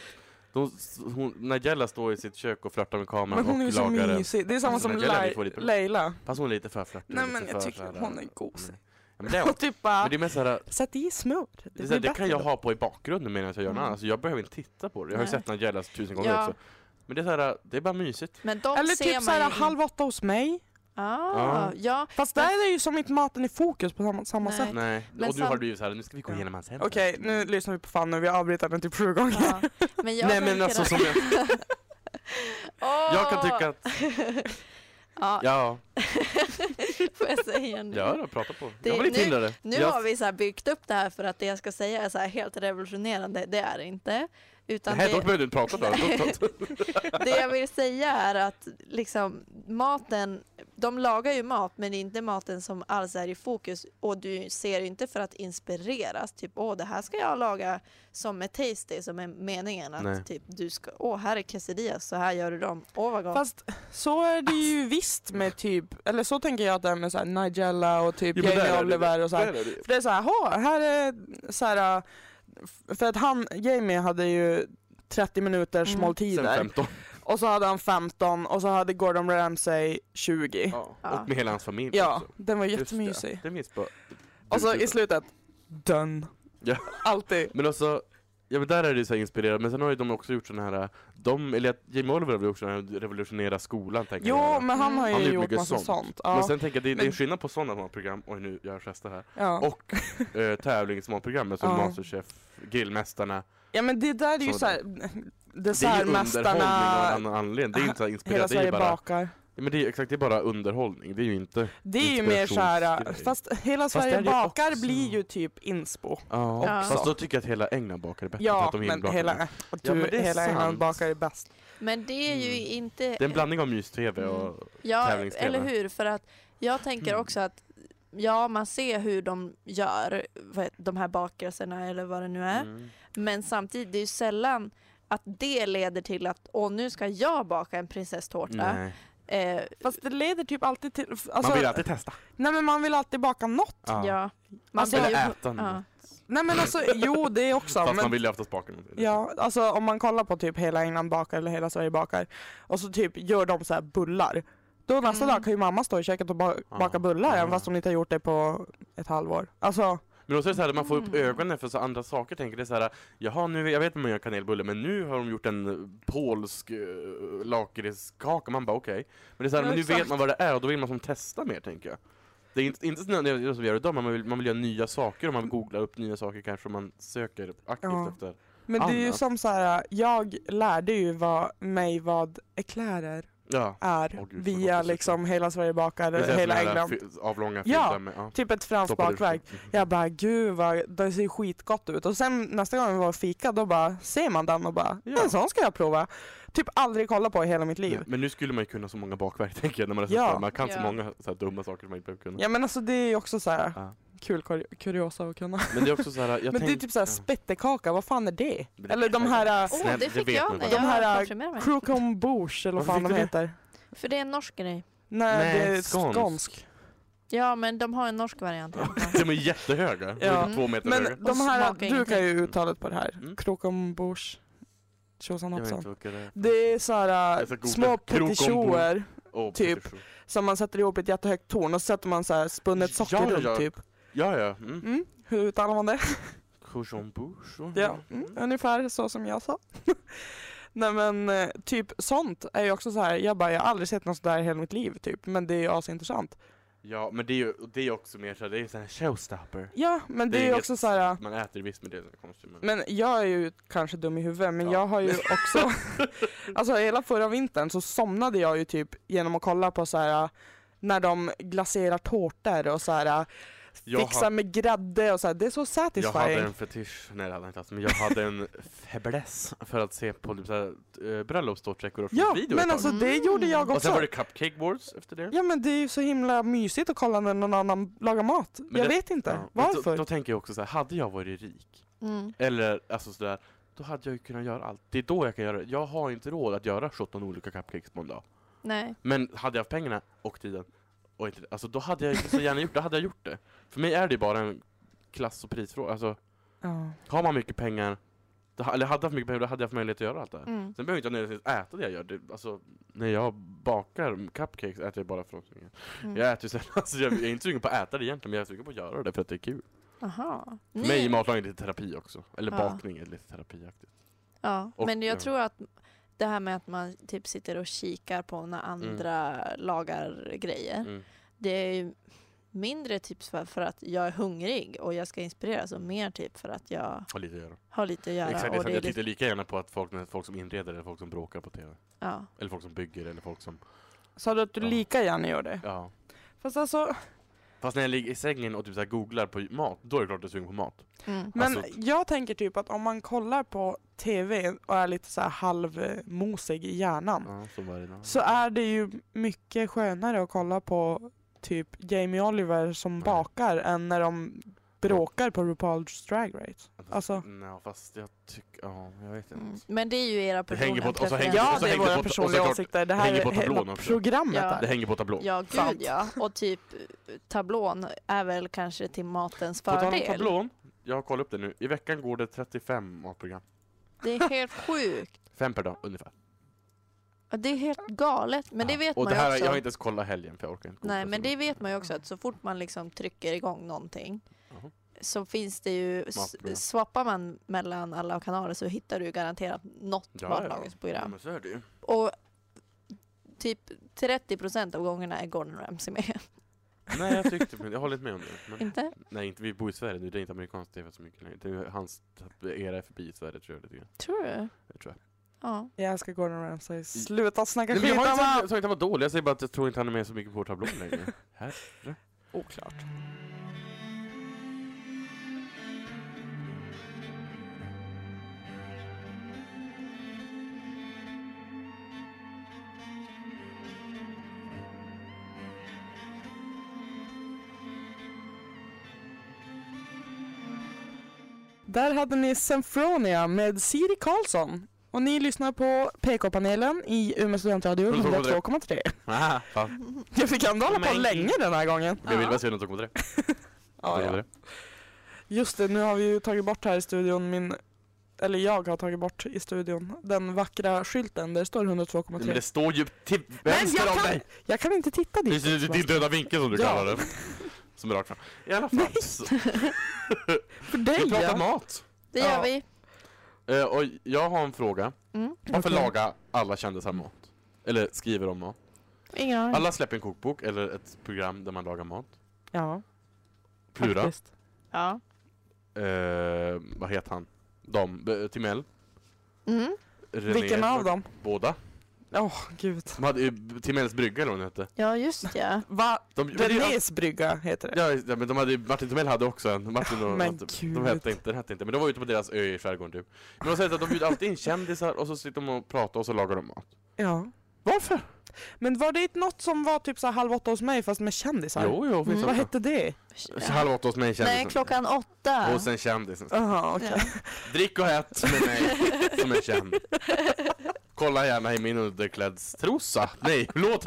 Speaker 2: de, hon, Nigella står i sitt kök och flörtar med kameran
Speaker 3: Men hon är ju
Speaker 2: och
Speaker 3: så
Speaker 2: lagar en...
Speaker 3: mysig, det är samma
Speaker 2: Alltså,
Speaker 3: som
Speaker 2: den gäller vi
Speaker 3: Lai-
Speaker 2: får lite-
Speaker 3: Leila.
Speaker 2: Fast hon är lite för flörtig.
Speaker 3: Nej
Speaker 2: lite
Speaker 3: men
Speaker 2: för
Speaker 3: jag tycker
Speaker 2: såhär,
Speaker 3: hon är
Speaker 2: mm.
Speaker 3: gosig.
Speaker 2: Ja, men det är hon.
Speaker 3: Och typ
Speaker 2: Men
Speaker 3: bara,
Speaker 2: det är mer såhär,
Speaker 3: sätt i smör.
Speaker 2: Det, är
Speaker 3: Det,
Speaker 2: så här,
Speaker 3: blir
Speaker 2: det kan
Speaker 3: bättre
Speaker 2: jag
Speaker 3: då.
Speaker 2: ha på i bakgrunden medan jag gör något
Speaker 4: Mm.
Speaker 2: annat. Alltså, jag behöver inte titta på det. Jag har ju
Speaker 4: Nej.
Speaker 2: sett Nigelas tusen gånger
Speaker 4: Ja.
Speaker 2: också. Men det är, så här, det är bara mysigt.
Speaker 4: Men de
Speaker 3: Eller
Speaker 4: ser
Speaker 3: typ
Speaker 4: man
Speaker 3: såhär
Speaker 4: ju in-
Speaker 3: halv åtta hos mig.
Speaker 4: Ah,
Speaker 2: Ja.
Speaker 4: ja.
Speaker 3: Fast där är det ju som inte maten i fokus på samma, samma
Speaker 4: Nej.
Speaker 3: sätt.
Speaker 2: Nej.
Speaker 4: Men
Speaker 2: och nu har
Speaker 4: sam-
Speaker 2: det blivit så här, nu ska vi gå
Speaker 3: Ja.
Speaker 2: igenom hans hem.
Speaker 3: Okej, nu lyssnar vi på Fanny och vi avbryter den typ sju gånger.
Speaker 4: ja. Men jag
Speaker 2: Nej men
Speaker 4: tänker
Speaker 2: alltså
Speaker 4: att-
Speaker 2: som jag,
Speaker 4: Åh!
Speaker 2: jag kan tycka att,
Speaker 4: ja,
Speaker 2: ja,
Speaker 4: får jag säga nu?
Speaker 2: ja då, prata på.
Speaker 4: Det-
Speaker 2: jag var lite
Speaker 4: nu-
Speaker 2: hindrad.
Speaker 4: Nu
Speaker 2: jag,
Speaker 4: har vi så här byggt upp det här för att det jag ska säga är så här helt revolutionerande. Det är det inte. Utan
Speaker 2: Nej,
Speaker 4: det,
Speaker 2: då behöver du inte prata då. då. då-
Speaker 4: det jag vill säga är att liksom, maten, de lagar ju mat men det är inte maten som alls är i fokus och du ser ju inte för att inspireras. Typ åh det här ska jag laga som är tasty som är meningen att
Speaker 2: Nej.
Speaker 4: typ du ska, åh här är quesadillas så här gör du dem, åh vad gott.
Speaker 3: Fast så är det ju visst med typ, eller så tänker jag att det är med så här Nigella och typ
Speaker 2: Jo, men där är
Speaker 3: Jamie
Speaker 2: det-
Speaker 3: Oliver och så här.
Speaker 2: där är det.
Speaker 3: För det är så här, "Ha, här är så här, äh, f- för att han, Jamie hade ju 30 minuters
Speaker 4: Mm.
Speaker 2: Sen
Speaker 3: måltider
Speaker 2: 15.
Speaker 3: och så hade han 15 och så hade Gordon Ramsay 20.
Speaker 2: Ja.
Speaker 4: Ja.
Speaker 2: Och med hela hans familj
Speaker 3: Ja,
Speaker 2: också.
Speaker 3: den var
Speaker 2: Just det.
Speaker 3: jättemysig.
Speaker 2: Det minns bara.
Speaker 3: Och så
Speaker 2: du-
Speaker 3: i slutet, done.
Speaker 2: Ja.
Speaker 3: Alltid.
Speaker 2: Men alltså, ja men där är det ju så här inspirerat, men sen har ju de också gjort sådana här, de, eller att Jamie Oliver har väl gjort sådana här revolutionera skolan tänker
Speaker 3: Jo,
Speaker 2: jag.
Speaker 3: men han har ju
Speaker 2: Han har gjort
Speaker 3: gjort
Speaker 2: mycket
Speaker 3: massa
Speaker 2: sånt.
Speaker 3: sånt. Ja.
Speaker 2: Men sen tänker jag, det, det är
Speaker 3: Men-
Speaker 2: skillnad på sådana matprogram, oj nu gör jag gester här,
Speaker 3: ja.
Speaker 2: och eh, tävlingsmatprogrammet som
Speaker 3: Ja.
Speaker 2: Masterchef, Grillmästarna.
Speaker 3: Ja men det där är ju
Speaker 2: Så
Speaker 3: såhär,
Speaker 2: Det är ju underhållning av en
Speaker 3: dessertmästarna,
Speaker 2: annan anledning, det är inte så här
Speaker 3: hela
Speaker 2: inspirerat, det är ju
Speaker 3: Sverige
Speaker 2: bara,
Speaker 3: bakar.
Speaker 2: ja, men det är, exakt, det är bara underhållning, det är ju inte,
Speaker 3: Det är ju mer såhär,
Speaker 2: Inspirationsgrej.
Speaker 3: fast hela
Speaker 2: Fast det
Speaker 3: Sverige
Speaker 2: är det
Speaker 3: bakar
Speaker 2: också.
Speaker 3: blir ju typ inspo.
Speaker 2: ja.
Speaker 4: Ja.
Speaker 2: Fast då tycker jag att hela England bakar är bättre, för
Speaker 3: Ja,
Speaker 2: att de är
Speaker 3: men
Speaker 2: inbakade.
Speaker 3: hela, och du,
Speaker 2: Ja, men det är
Speaker 3: hela England
Speaker 2: sant.
Speaker 3: bakar är bäst.
Speaker 4: men det är ju inte...
Speaker 2: Mm. Det är en blandning av mys-tv och
Speaker 4: Ja,
Speaker 2: tävlingstv.
Speaker 4: eller hur? För att jag tänker
Speaker 2: Mm.
Speaker 4: också att ja, man ser hur de gör vad heter- de här bakelserna eller vad det nu är.
Speaker 2: Mm.
Speaker 4: Men samtidigt, det är ju sällan att det leder till att åh, nu ska jag baka en prinsesstårta.
Speaker 2: Nej.
Speaker 4: Eh,
Speaker 3: Fast det leder typ alltid till, alltså,
Speaker 2: Man vill alltid testa.
Speaker 3: nej men man vill alltid baka något.
Speaker 4: ja. Man
Speaker 3: Alltså,
Speaker 4: blir
Speaker 2: Eller
Speaker 4: ju-
Speaker 2: äta något.
Speaker 4: ja.
Speaker 3: Nej men alltså jo det också.
Speaker 2: Fast
Speaker 3: men,
Speaker 2: man vill ju oftast baka något.
Speaker 3: Ja, alltså om man kollar på typ hela England bakar eller hela Sverige bakar och så typ gör de så här bullar. Då nästa
Speaker 4: Mm.
Speaker 3: dag kan ju mamma stå i köket och ba-
Speaker 2: Ja.
Speaker 3: baka bullar även
Speaker 2: Ja.
Speaker 3: fast hon inte har gjort det på ett halvår. Alltså,
Speaker 2: Men också är det så här, man får upp
Speaker 4: Mm.
Speaker 2: ögonen för så andra saker. Tänker det är så här, jaha, nu, jag vet att man gör kanelbulle, men nu har de gjort en eh, polsk äh, lakritskaka. Man bara okej. Men det är så här,
Speaker 3: Ja,
Speaker 2: men nu
Speaker 3: exakt.
Speaker 2: vet man vad det är och då vill man som testa mer, tänker jag. Det är inte, inte som det som vi gör idag, men man vill, man vill göra nya saker och man googlar upp nya saker kanske och man söker aktivt
Speaker 3: Ja.
Speaker 2: efter.
Speaker 3: men det är ju
Speaker 2: Annat.
Speaker 3: som så här, jag lärde ju vad, mig vad eklärer
Speaker 2: Ja.
Speaker 3: är
Speaker 2: Åh, gud, så
Speaker 3: via
Speaker 2: hoppas jag.
Speaker 3: liksom hela Sverige bakar,
Speaker 2: Det är så här
Speaker 3: hela
Speaker 2: såna här
Speaker 3: England.
Speaker 2: fy- Avlånga
Speaker 3: Ja.
Speaker 2: fyllda med, ja.
Speaker 3: Typ ett franskt
Speaker 2: Stoppade-
Speaker 3: bakverk. Jag bara gud vad, det ser skitgott ut. Och sen nästa gång vi var och fika då bara ser man den och bara
Speaker 2: Ja.
Speaker 3: en sån ska jag prova. Typ aldrig kolla på i hela mitt liv.
Speaker 2: Ja, Men nu skulle man ju kunna så många bakverk, tänker jag. När man, är så
Speaker 3: Ja.
Speaker 2: här, man kan så
Speaker 4: Ja.
Speaker 2: många så här, dumma saker som man inte behöver kunna.
Speaker 3: Ja men alltså det är ju också så här
Speaker 2: Ja.
Speaker 3: kul kur- kuriosa att kunna.
Speaker 2: Men det är också så här, jag
Speaker 3: men det är
Speaker 2: tänk-
Speaker 3: typ så här
Speaker 2: ja.
Speaker 3: spettekaka, vad fan är det?
Speaker 2: Men det-
Speaker 3: Eller de här
Speaker 4: Åh,
Speaker 3: äh,
Speaker 2: Snäll,
Speaker 4: det
Speaker 2: det
Speaker 4: fick
Speaker 2: vet
Speaker 4: jag när
Speaker 2: man bara.
Speaker 4: jag
Speaker 3: De här,
Speaker 4: konfirmerade mig.
Speaker 3: croquembouche eller vad
Speaker 2: Varför
Speaker 3: fan
Speaker 2: fick du
Speaker 3: de
Speaker 2: det?
Speaker 3: heter.
Speaker 4: För det är en norsk grej.
Speaker 3: Nej, det är skånsk.
Speaker 2: skånsk.
Speaker 4: Ja, men de har en norsk variant.
Speaker 2: De är jättehöga, de
Speaker 3: typ- Ja.
Speaker 2: är typ två meter höga.
Speaker 3: Men de här,
Speaker 4: smakar
Speaker 3: du
Speaker 4: ingenting.
Speaker 3: kan ju uttalet på det här.
Speaker 2: Mm.
Speaker 3: Croquembouche. Tjosan
Speaker 2: Jag vet
Speaker 3: hoppsan.
Speaker 2: inte vilka det är.
Speaker 3: Det är så här
Speaker 2: Jag ska
Speaker 3: äh,
Speaker 2: googla.
Speaker 3: små
Speaker 2: Croquembouche.
Speaker 3: petischoer
Speaker 2: Åh,
Speaker 3: typ.
Speaker 2: petition.
Speaker 3: som man sätter ihop i ett jättehögt torn och så sätter man så här spunnet socker
Speaker 2: Ja, ja,
Speaker 3: runt
Speaker 2: ja.
Speaker 3: typ.
Speaker 2: Ja, ja. Mm.
Speaker 3: Mm. Hur uttalar man det?
Speaker 2: Cochon bouche.
Speaker 3: Ja, mm, ungefär så som jag sa. Nej men eh, typ sånt är ju också så här. jag bara jag har aldrig sett något sådär i hela mitt liv typ, men det är ju asintressant.
Speaker 2: Ja, men det är ju det är också mer såhär, det är ju sån här showstopper.
Speaker 3: Ja, men det, är ju
Speaker 2: inget-
Speaker 3: också så här. äh,
Speaker 2: Man äter visst, men det är så konstigt. Men...
Speaker 3: men jag är ju kanske dum i huvudet, men
Speaker 2: Ja.
Speaker 3: jag har ju också, alltså hela förra vintern så somnade jag äh, ju typ genom att kolla på så här när de glaserar tårtor och så här
Speaker 2: Jag
Speaker 3: fixa med grädde och så här. Det är så
Speaker 2: Jag hade en
Speaker 3: satisfying.
Speaker 2: fetisch, nej det hade jag inte haft, men jag hade en fäbless för att se på typ såhär eh, bröllopstårtfläckor och
Speaker 3: Ja,
Speaker 2: video ett
Speaker 3: men
Speaker 2: tag.
Speaker 3: alltså det
Speaker 4: Mm.
Speaker 3: gjorde jag
Speaker 2: Och sen
Speaker 3: också.
Speaker 2: var det cupcake wars efter det.
Speaker 3: Ja men det är ju så himla mysigt att kolla när någon annan lagar mat.
Speaker 2: Men
Speaker 3: jag
Speaker 2: det-
Speaker 3: vet inte.
Speaker 2: Ja, men
Speaker 3: Varför?
Speaker 2: Då, då tänker jag också så här, hade jag varit rik,
Speaker 4: Mm.
Speaker 2: eller alltså sådär, då hade jag ju kunnat göra allt. Det är då jag kan göra det. Jag har inte råd att göra 17 olika cupcakes på en dag.
Speaker 4: Nej.
Speaker 2: Men hade jag haft pengarna och tiden, och inte, alltså då hade jag ju så gärna gjort det. hade jag gjort det. För mig är det ju bara en klass och prisfråga. Alltså,
Speaker 3: ja.
Speaker 2: har man mycket pengar, då, ha- eller hade jag haft mycket pengar, då hade jag haft möjlighet att göra allt det här.
Speaker 4: Mm.
Speaker 2: Sen behöver inte jag nödvändigtvis äta det jag gör. Det, alltså, när jag bakar cupcakes äter jag bara frukostmingel.
Speaker 4: Mm.
Speaker 2: Jag äter ju sällan, alltså, jag, jag är inte sugen på att äta det egentligen, men jag är sugen på att göra det för att det är kul.
Speaker 4: Aha.
Speaker 2: För mig är
Speaker 4: Ni-
Speaker 2: matlagning lite terapi också. Eller
Speaker 4: Ja.
Speaker 2: bakning är lite terapiaktigt.
Speaker 4: Ja,
Speaker 2: Och-
Speaker 4: men jag
Speaker 2: ja.
Speaker 4: tror att det här med att man typ sitter och kikar på när andra lagar grejer.
Speaker 2: Mm.
Speaker 4: Det är ju mindre typ för, för att jag är hungrig och jag ska inspireras och mer typ för att jag
Speaker 2: Har lite att göra.
Speaker 4: har lite att göra.
Speaker 2: Exakt,
Speaker 4: och
Speaker 2: exakt.
Speaker 4: det är
Speaker 2: Jag
Speaker 4: lite,
Speaker 2: tittar lika gärna på att folk, när folk som inreder eller folk som bråkar på TV.
Speaker 4: ja.
Speaker 2: Eller folk som bygger eller folk som...
Speaker 3: Sa du att du
Speaker 2: Ja.
Speaker 3: lika gärna gör det?
Speaker 2: Ja.
Speaker 3: Fast alltså,
Speaker 2: Fast när jag ligger i sängen och typ så här googlar på mat, då är det klart att jag är sugen på mat.
Speaker 4: mm.
Speaker 3: men
Speaker 2: Alltså-
Speaker 3: jag tänker typ att om man kollar på TV och är lite så här halvmosig i hjärnan
Speaker 2: Ja, som varje dag.
Speaker 3: så är det ju mycket skönare att kolla på typ Jamie Oliver som
Speaker 2: Mm.
Speaker 3: bakar än när de bråkar på RuPaul's Drag Race. alltså-
Speaker 2: Nej, Mm, fast jag tycker... Ja, jag vet inte.
Speaker 4: Mm. men det är ju era
Speaker 2: Det hänger
Speaker 4: personliga
Speaker 2: på- och så hänger-
Speaker 4: preferenser.
Speaker 3: Ja,
Speaker 2: och så
Speaker 3: det är
Speaker 2: hänger det
Speaker 3: våra
Speaker 2: på- och
Speaker 3: personliga
Speaker 2: såklart
Speaker 3: åsikter. Det här
Speaker 2: hänger på
Speaker 3: är
Speaker 2: tablån
Speaker 3: hela
Speaker 2: också.
Speaker 3: programmet.
Speaker 4: Ja.
Speaker 2: Det
Speaker 3: Här.
Speaker 2: hänger på tablån.
Speaker 4: Ja,
Speaker 3: Sant.
Speaker 4: gud ja. Och typ eh, tablån är väl kanske till matens
Speaker 2: På tal om
Speaker 4: fördel.
Speaker 2: tablån, jag har kollat upp det nu. I veckan går det 35 matprogram.
Speaker 4: Det är helt sjukt.
Speaker 2: Fem per dag ungefär.
Speaker 4: Ja, Det är helt galet. Men det
Speaker 2: Ja.
Speaker 4: vet
Speaker 2: och
Speaker 4: man
Speaker 2: det
Speaker 4: ju
Speaker 2: här,
Speaker 4: också.
Speaker 2: Jag har inte ens kollat helgen för jag orkar inte. googla
Speaker 4: Nej,
Speaker 2: så
Speaker 4: men det
Speaker 2: mycket.
Speaker 4: vet man ju också att så fort man liksom trycker igång någonting
Speaker 2: Jaha.
Speaker 4: så finns det ju, s-
Speaker 2: Matprogram.
Speaker 4: swappar man mellan alla kanaler så hittar du ju garanterat något
Speaker 2: Ja, ja. Ja,
Speaker 4: matlagningsprogram.
Speaker 2: men så är det ju.
Speaker 4: Och typ 30% av gångerna är Gordon Ramsay med.
Speaker 2: Nej, jag tyckte men Jag håller inte med om det. Men,
Speaker 4: Inte?
Speaker 2: nej, inte, vi bor i Sverige nu. Det är inte amerikansk TV så mycket längre. Det är, hans era är förbi i Sverige tror jag lite grann.
Speaker 4: Tror du?
Speaker 2: Jag tror jag.
Speaker 4: Ja.
Speaker 3: Jag älskar Gordon Ramsay. Sluta snacka
Speaker 2: Nej, men
Speaker 3: skit
Speaker 2: jag
Speaker 3: om
Speaker 2: har inte
Speaker 3: honom!
Speaker 2: sagt att han var dålig. Jag säger bara att jag tror inte han är med så mycket på vår tablå längre. Här.
Speaker 3: Oklart. Där hade ni Symfronia med Siri Karlsson. Och ni lyssnar på PK-panelen i Umeå studentradio 102,3.
Speaker 2: Ah, fan.
Speaker 3: Jag fick ändå hålla på
Speaker 2: Men-
Speaker 3: länge den här gången.
Speaker 2: Jag ville bara säga något om det.
Speaker 3: Ja,
Speaker 2: Om
Speaker 3: ja.
Speaker 2: det.
Speaker 3: Just det, nu har vi ju tagit bort här i studion min eller jag har tagit bort i studion den vackra skylten där det står 102,3.
Speaker 2: Men det står ju till
Speaker 3: Men
Speaker 2: vänster
Speaker 3: jag
Speaker 2: om
Speaker 3: kan-
Speaker 2: dig!
Speaker 3: Jag kan inte titta
Speaker 2: Det
Speaker 3: dit.
Speaker 2: är ju din döda vinkel som du
Speaker 3: Ja.
Speaker 2: kallar det. Som är rakt fram. I alla fall. så-
Speaker 3: För dig
Speaker 2: Vi pratar
Speaker 3: ja.
Speaker 2: mat.
Speaker 4: Det
Speaker 3: Ja.
Speaker 4: gör vi.
Speaker 2: Eh, och jag har en fråga.
Speaker 4: Mm.
Speaker 2: Varför
Speaker 3: Okej.
Speaker 2: lagar alla kändisar mat? Eller skriver om mat?
Speaker 4: Ingen aning.
Speaker 2: Alla släpper en kokbok eller ett program där man lagar mat.
Speaker 3: ja
Speaker 2: Plura.
Speaker 3: faktiskt.
Speaker 4: Ja.
Speaker 2: Eh, vad heter han? De, B- Timell.
Speaker 4: Mm.
Speaker 2: René,
Speaker 3: Vilken av dem?
Speaker 2: Båda.
Speaker 3: Åh gud.
Speaker 2: De hade ju Timells brygga eller vad hon hette.
Speaker 4: ja, just ja.
Speaker 3: Va?
Speaker 2: De, men det-
Speaker 3: Renés brygga heter det.
Speaker 2: Ja, just det, men de hade, ju- Martin Timell hade också en. Martin och,
Speaker 3: Men
Speaker 2: de,
Speaker 3: gud.
Speaker 2: de hette inte, den hette inte. Men de var ute på deras ö i skärgården typ. Men de säger att de bjuder alltid in kändisar och så sitter de och pratar och så lagar de mat.
Speaker 3: Ja.
Speaker 2: Varför?
Speaker 3: Men var det inte något som var typ så här halv åtta hos mig fast med kändisar?
Speaker 2: Jo, jo, finns
Speaker 4: Mm.
Speaker 3: Vad
Speaker 2: det också.
Speaker 3: hette det?
Speaker 2: Så Halv åtta hos mig kändisen.
Speaker 4: Nej, klockan åtta.
Speaker 2: Och sen kändisen.
Speaker 3: Jaha okej.
Speaker 4: Ja.
Speaker 2: Drick och ät med mig som är känd. Kolla gärna i min underklädstrosa. Nej, låt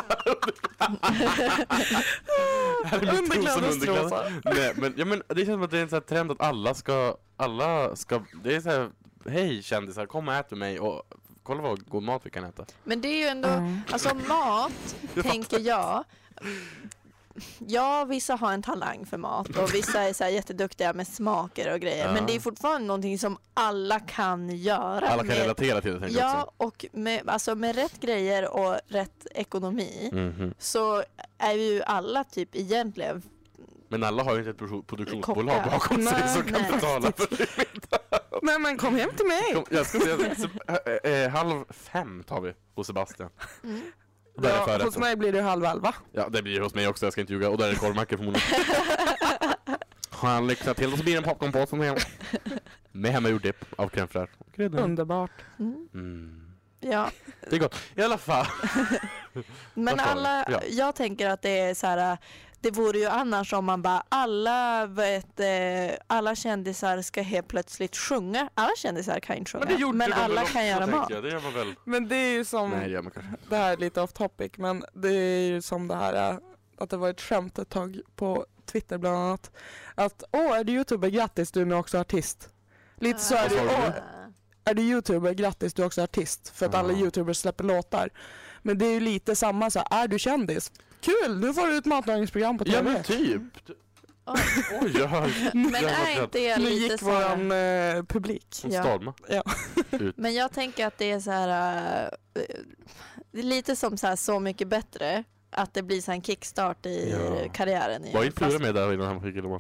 Speaker 2: Här är min trosa med underkläder.
Speaker 3: Underklädestrosa.
Speaker 2: Nej, men, ja, men det känns som att det är en sån här trend att alla ska, alla ska, det är så här, hej kändisar, kom och ät med mig och kolla vad god mat vi kan äta.
Speaker 4: Men det är ju ändå...
Speaker 3: Ja.
Speaker 4: Alltså mat, tänker jag. Ja, vissa har en talang för mat och vissa är så här jätteduktiga med smaker och grejer.
Speaker 2: Ja.
Speaker 4: Men det är fortfarande någonting som alla kan göra.
Speaker 2: Alla kan
Speaker 4: med,
Speaker 2: relatera till det liksom. tänker jag också.
Speaker 4: Ja, och med, alltså med rätt grejer och rätt ekonomi
Speaker 2: Mhm.
Speaker 4: så är ju alla typ egentligen...
Speaker 2: Men alla har ju inte ett pro- produktionsbolag
Speaker 4: Kockar.
Speaker 2: bakom sig
Speaker 3: Nej,
Speaker 2: som kan
Speaker 4: nej.
Speaker 2: betala för det.
Speaker 3: Nej men kom hem till mig.
Speaker 2: Kom, Jag ska säga, se- eh, eh, halv fem tar vi hos Sebastian.
Speaker 4: Mm.
Speaker 2: Och där är
Speaker 3: Ja, hos
Speaker 2: förrätten.
Speaker 3: mig blir det halv elva.
Speaker 2: Ja, det blir hos mig också, jag ska inte ljuga. Och där är korvmackor förmodligen. fan lyxa till och så blir det en popcornpåse med, med hemmagjord dipp av crème fraîche. och grädde.
Speaker 3: Underbart.
Speaker 4: Mm.
Speaker 2: Mm.
Speaker 4: Ja,
Speaker 2: Det är gott. I alla fall.
Speaker 4: men
Speaker 2: Varför?
Speaker 4: alla,
Speaker 2: Ja.
Speaker 4: jag tänker att det är så här, det vore ju annars om man bara alla, vet, eh, alla kändisar ska helt plötsligt sjunga. Alla kändisar kan inte sjunga, men, alla kan göra mat.
Speaker 2: Jag. Det gör man väl?
Speaker 3: Men det är ju som,
Speaker 2: Nej, det gör man kanske.
Speaker 3: det här är lite off topic, men det är ju som det här eh, att det var ett skämt ett tag på Twitter bland annat. Att åh, är du youtuber, grattis du är nu också artist. Lite
Speaker 4: Ah.
Speaker 3: så är
Speaker 2: Vad
Speaker 3: det,
Speaker 2: sa du?
Speaker 3: åh, är du youtuber, grattis du är också artist. För att alla
Speaker 2: Ah.
Speaker 3: youtubers släpper låtar. Men det är ju lite samma så här, är du kändis? Kul, nu får du ett matlagningsprogram på TV.
Speaker 2: Ja men typ.
Speaker 4: Oj.
Speaker 2: Oj, jag hör.
Speaker 4: Men
Speaker 2: Jag hör
Speaker 4: är inte det
Speaker 3: nu
Speaker 4: lite
Speaker 3: gick
Speaker 4: så här-
Speaker 3: våran eh, publik.
Speaker 2: En
Speaker 4: Ja.
Speaker 2: storma.
Speaker 4: Men jag tänker att det är så här, eh, det är lite som så, här, så mycket bättre, att det blir så här en kickstart i
Speaker 2: Ja.
Speaker 4: karriären. igen.
Speaker 2: Var inte Plura
Speaker 4: Fast-
Speaker 2: med där innan han fick glömma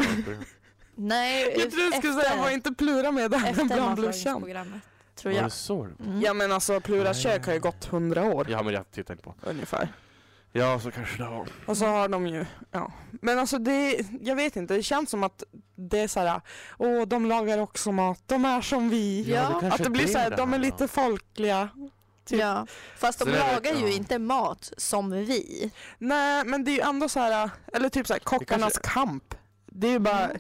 Speaker 4: Nej,
Speaker 3: Jag trodde du skulle säga, var inte Plura med där
Speaker 4: efter
Speaker 3: när Bland blev känd?
Speaker 4: matlagningsprogrammet, tror
Speaker 2: Var det
Speaker 4: jag.
Speaker 2: så det var?
Speaker 4: Mm.
Speaker 3: Ja men alltså Plura kök har ju gått hundra år
Speaker 2: Ja men jag tittar inte på
Speaker 3: ungefär.
Speaker 2: Ja så kanske det var.
Speaker 3: Och så har de ju, ja. Men alltså det, jag vet inte, det känns som att det är såhär, åh de lagar också mat, de är som vi.
Speaker 4: Ja, det
Speaker 3: Att det blir såhär, de är lite folkliga. typ.
Speaker 4: Ja. Fast de
Speaker 2: Så det är-
Speaker 4: lagar ju
Speaker 2: ja.
Speaker 4: inte mat som vi.
Speaker 3: Nej men det är ju ändå såhär, eller typ såhär kockarnas kamp. Det är ju bara,
Speaker 4: Mm.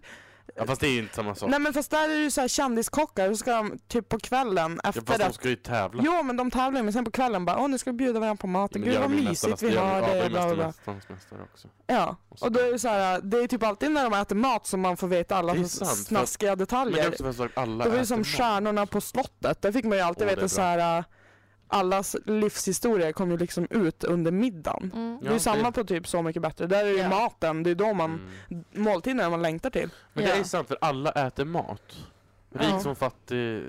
Speaker 2: Ja fast det är ju inte samma sak.
Speaker 3: nej men fast där är det ju såhär kändiskockar, så ska de typ på kvällen
Speaker 2: ja,
Speaker 3: efter
Speaker 2: fast de
Speaker 3: att
Speaker 2: ska ju tävla.
Speaker 3: Jo men de tävlar ju, men sen på kvällen bara åh nu ska vi bjuda varandra på maten,
Speaker 2: Men det
Speaker 3: gud
Speaker 2: gör
Speaker 3: vad
Speaker 2: de ju nästan-
Speaker 3: mysigt vi
Speaker 2: gör de- ja,
Speaker 3: har det.
Speaker 2: de
Speaker 3: Bla,
Speaker 2: är
Speaker 3: bla, bla.
Speaker 2: Mästarnas mästare också.
Speaker 3: Ja,
Speaker 2: Och så-
Speaker 3: och då är det så här, det är typ alltid när de äter mat som man får veta alla
Speaker 2: Det är
Speaker 3: så
Speaker 2: sant, för att-
Speaker 3: snaskiga
Speaker 2: Men det är
Speaker 3: detaljer.
Speaker 2: också för att alla
Speaker 3: Det var ju
Speaker 2: äter
Speaker 3: som
Speaker 2: mat.
Speaker 3: stjärnorna på slottet, där fick man ju alltid
Speaker 2: Åh, det är
Speaker 3: veta så här, allas livshistorier kom ju liksom ut under middagen.
Speaker 4: Mm.
Speaker 3: det är
Speaker 2: Ja,
Speaker 3: ju
Speaker 2: det-
Speaker 3: samma på typ Så mycket bättre, där är ju
Speaker 4: Ja.
Speaker 3: maten, det är då man,
Speaker 2: Mm.
Speaker 3: måltiderna man längtar till.
Speaker 2: Men det
Speaker 4: Ja.
Speaker 2: är sant för alla äter mat. Rik
Speaker 3: Ja.
Speaker 2: som fattig.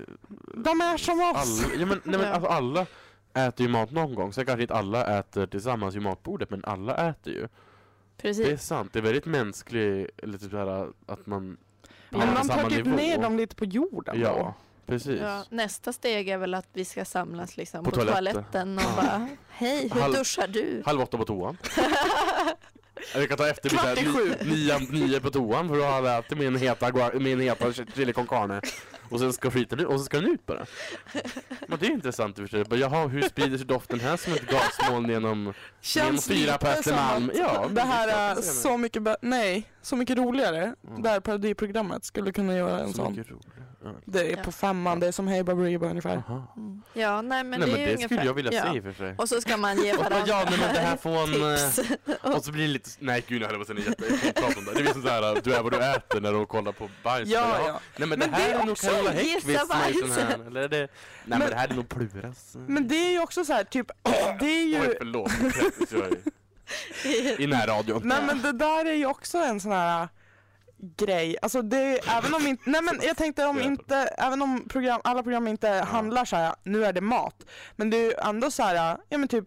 Speaker 3: De är som oss!
Speaker 2: Alla, ja, men, nej, men
Speaker 4: Ja.
Speaker 2: alltså, alla äter ju mat någon gång. Sen kanske inte alla äter tillsammans vid matbordet men alla äter ju. Det är
Speaker 4: Precis.
Speaker 2: sant. Det är väldigt mänsklig, eller typ såhär att man...
Speaker 3: Men
Speaker 2: på
Speaker 3: man tar
Speaker 2: samma
Speaker 3: typ
Speaker 2: nivå.
Speaker 3: ner dem lite på jorden
Speaker 2: Ja,
Speaker 3: då.
Speaker 2: precis.
Speaker 4: Ja, nästa steg är väl att vi ska samlas liksom
Speaker 2: På
Speaker 4: på,
Speaker 2: toaletten.
Speaker 4: toaletten. och
Speaker 2: Ja.
Speaker 4: bara Hej, hur
Speaker 2: Halv-
Speaker 4: duschar du?
Speaker 2: Halv åtta på toan. Eller Vi kan ta efter
Speaker 3: Kvart i
Speaker 2: middag, ni- nio, nio på toan för då har jag ätit min heta, gua- min heta ch- chili con carne. Och sen ska skiten ut, och så ska den ut bara. Men det är intressant i och för sig. Bara, Jaha, hur sprider sig doften här som ett gasmoln genom...
Speaker 3: Känns
Speaker 2: Genom fyra på
Speaker 3: lite som
Speaker 2: Östermalm.
Speaker 3: att
Speaker 2: Ja,
Speaker 3: det
Speaker 2: det är
Speaker 3: här
Speaker 2: klart
Speaker 3: är
Speaker 2: jag ser
Speaker 3: så mycket, bä- nej, så mycket roligare.
Speaker 2: Mm.
Speaker 3: Där parodiprogrammet skulle kunna göra en
Speaker 2: Så
Speaker 3: sån.
Speaker 2: mycket roligt. Ja.
Speaker 3: Det är
Speaker 4: Ja.
Speaker 3: på femman, det är som Hej Baberiba ungefär.
Speaker 2: Jaha.
Speaker 4: Mm. Ja, nej men
Speaker 2: Nej
Speaker 4: det
Speaker 2: men
Speaker 4: är ju
Speaker 2: det
Speaker 4: ungefär.
Speaker 2: skulle jag vilja
Speaker 4: ja.
Speaker 2: se i och för sig.
Speaker 4: Och så ska man ge
Speaker 2: Och så bara,
Speaker 4: varandra
Speaker 2: ja, nej, men det här får en... eh,
Speaker 4: tips.
Speaker 2: Och så blir det lite, nej gud nu höll jag på att säga något jätteprat om det. Det är som såhär, du är vad du äter när du kollar på bajs. Bara,
Speaker 3: Ja, ja.
Speaker 2: Nej men,
Speaker 3: Men
Speaker 2: det här
Speaker 3: det är
Speaker 2: är nog
Speaker 3: också
Speaker 2: Carola
Speaker 4: gissa
Speaker 2: Häggkvist som har gjort den här.
Speaker 4: bajsen.
Speaker 2: Eller är det... Nej men,
Speaker 3: Men-
Speaker 2: det här är nog Pluras. eh.
Speaker 3: Men det är ju också så här, typ, det är
Speaker 2: Oj
Speaker 3: ju,
Speaker 2: förlåt, Kräftigt, sorry. i närradion.
Speaker 3: nej men det där är ju också en sån här äh, grej. Alltså det är, även om inte, nej men jag tänkte om
Speaker 2: Det är
Speaker 3: inte, även om program, alla program inte handlar så här, nu är det mat. Men det är ju ändå så här, ja men typ,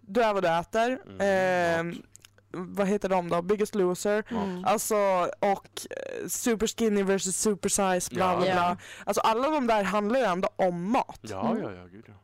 Speaker 3: du är vad du äter.
Speaker 2: Mm,
Speaker 3: ehm,
Speaker 2: mat.
Speaker 3: vad heter de då? Biggest Loser.
Speaker 4: Mm.
Speaker 3: Alltså och eh, Super Skinny vs Super Size bla
Speaker 2: Ja.
Speaker 3: bla bla.
Speaker 4: Ja.
Speaker 3: Alltså alla de där handlar ju ändå om mat.
Speaker 2: Ja, ja, ja, gud ja.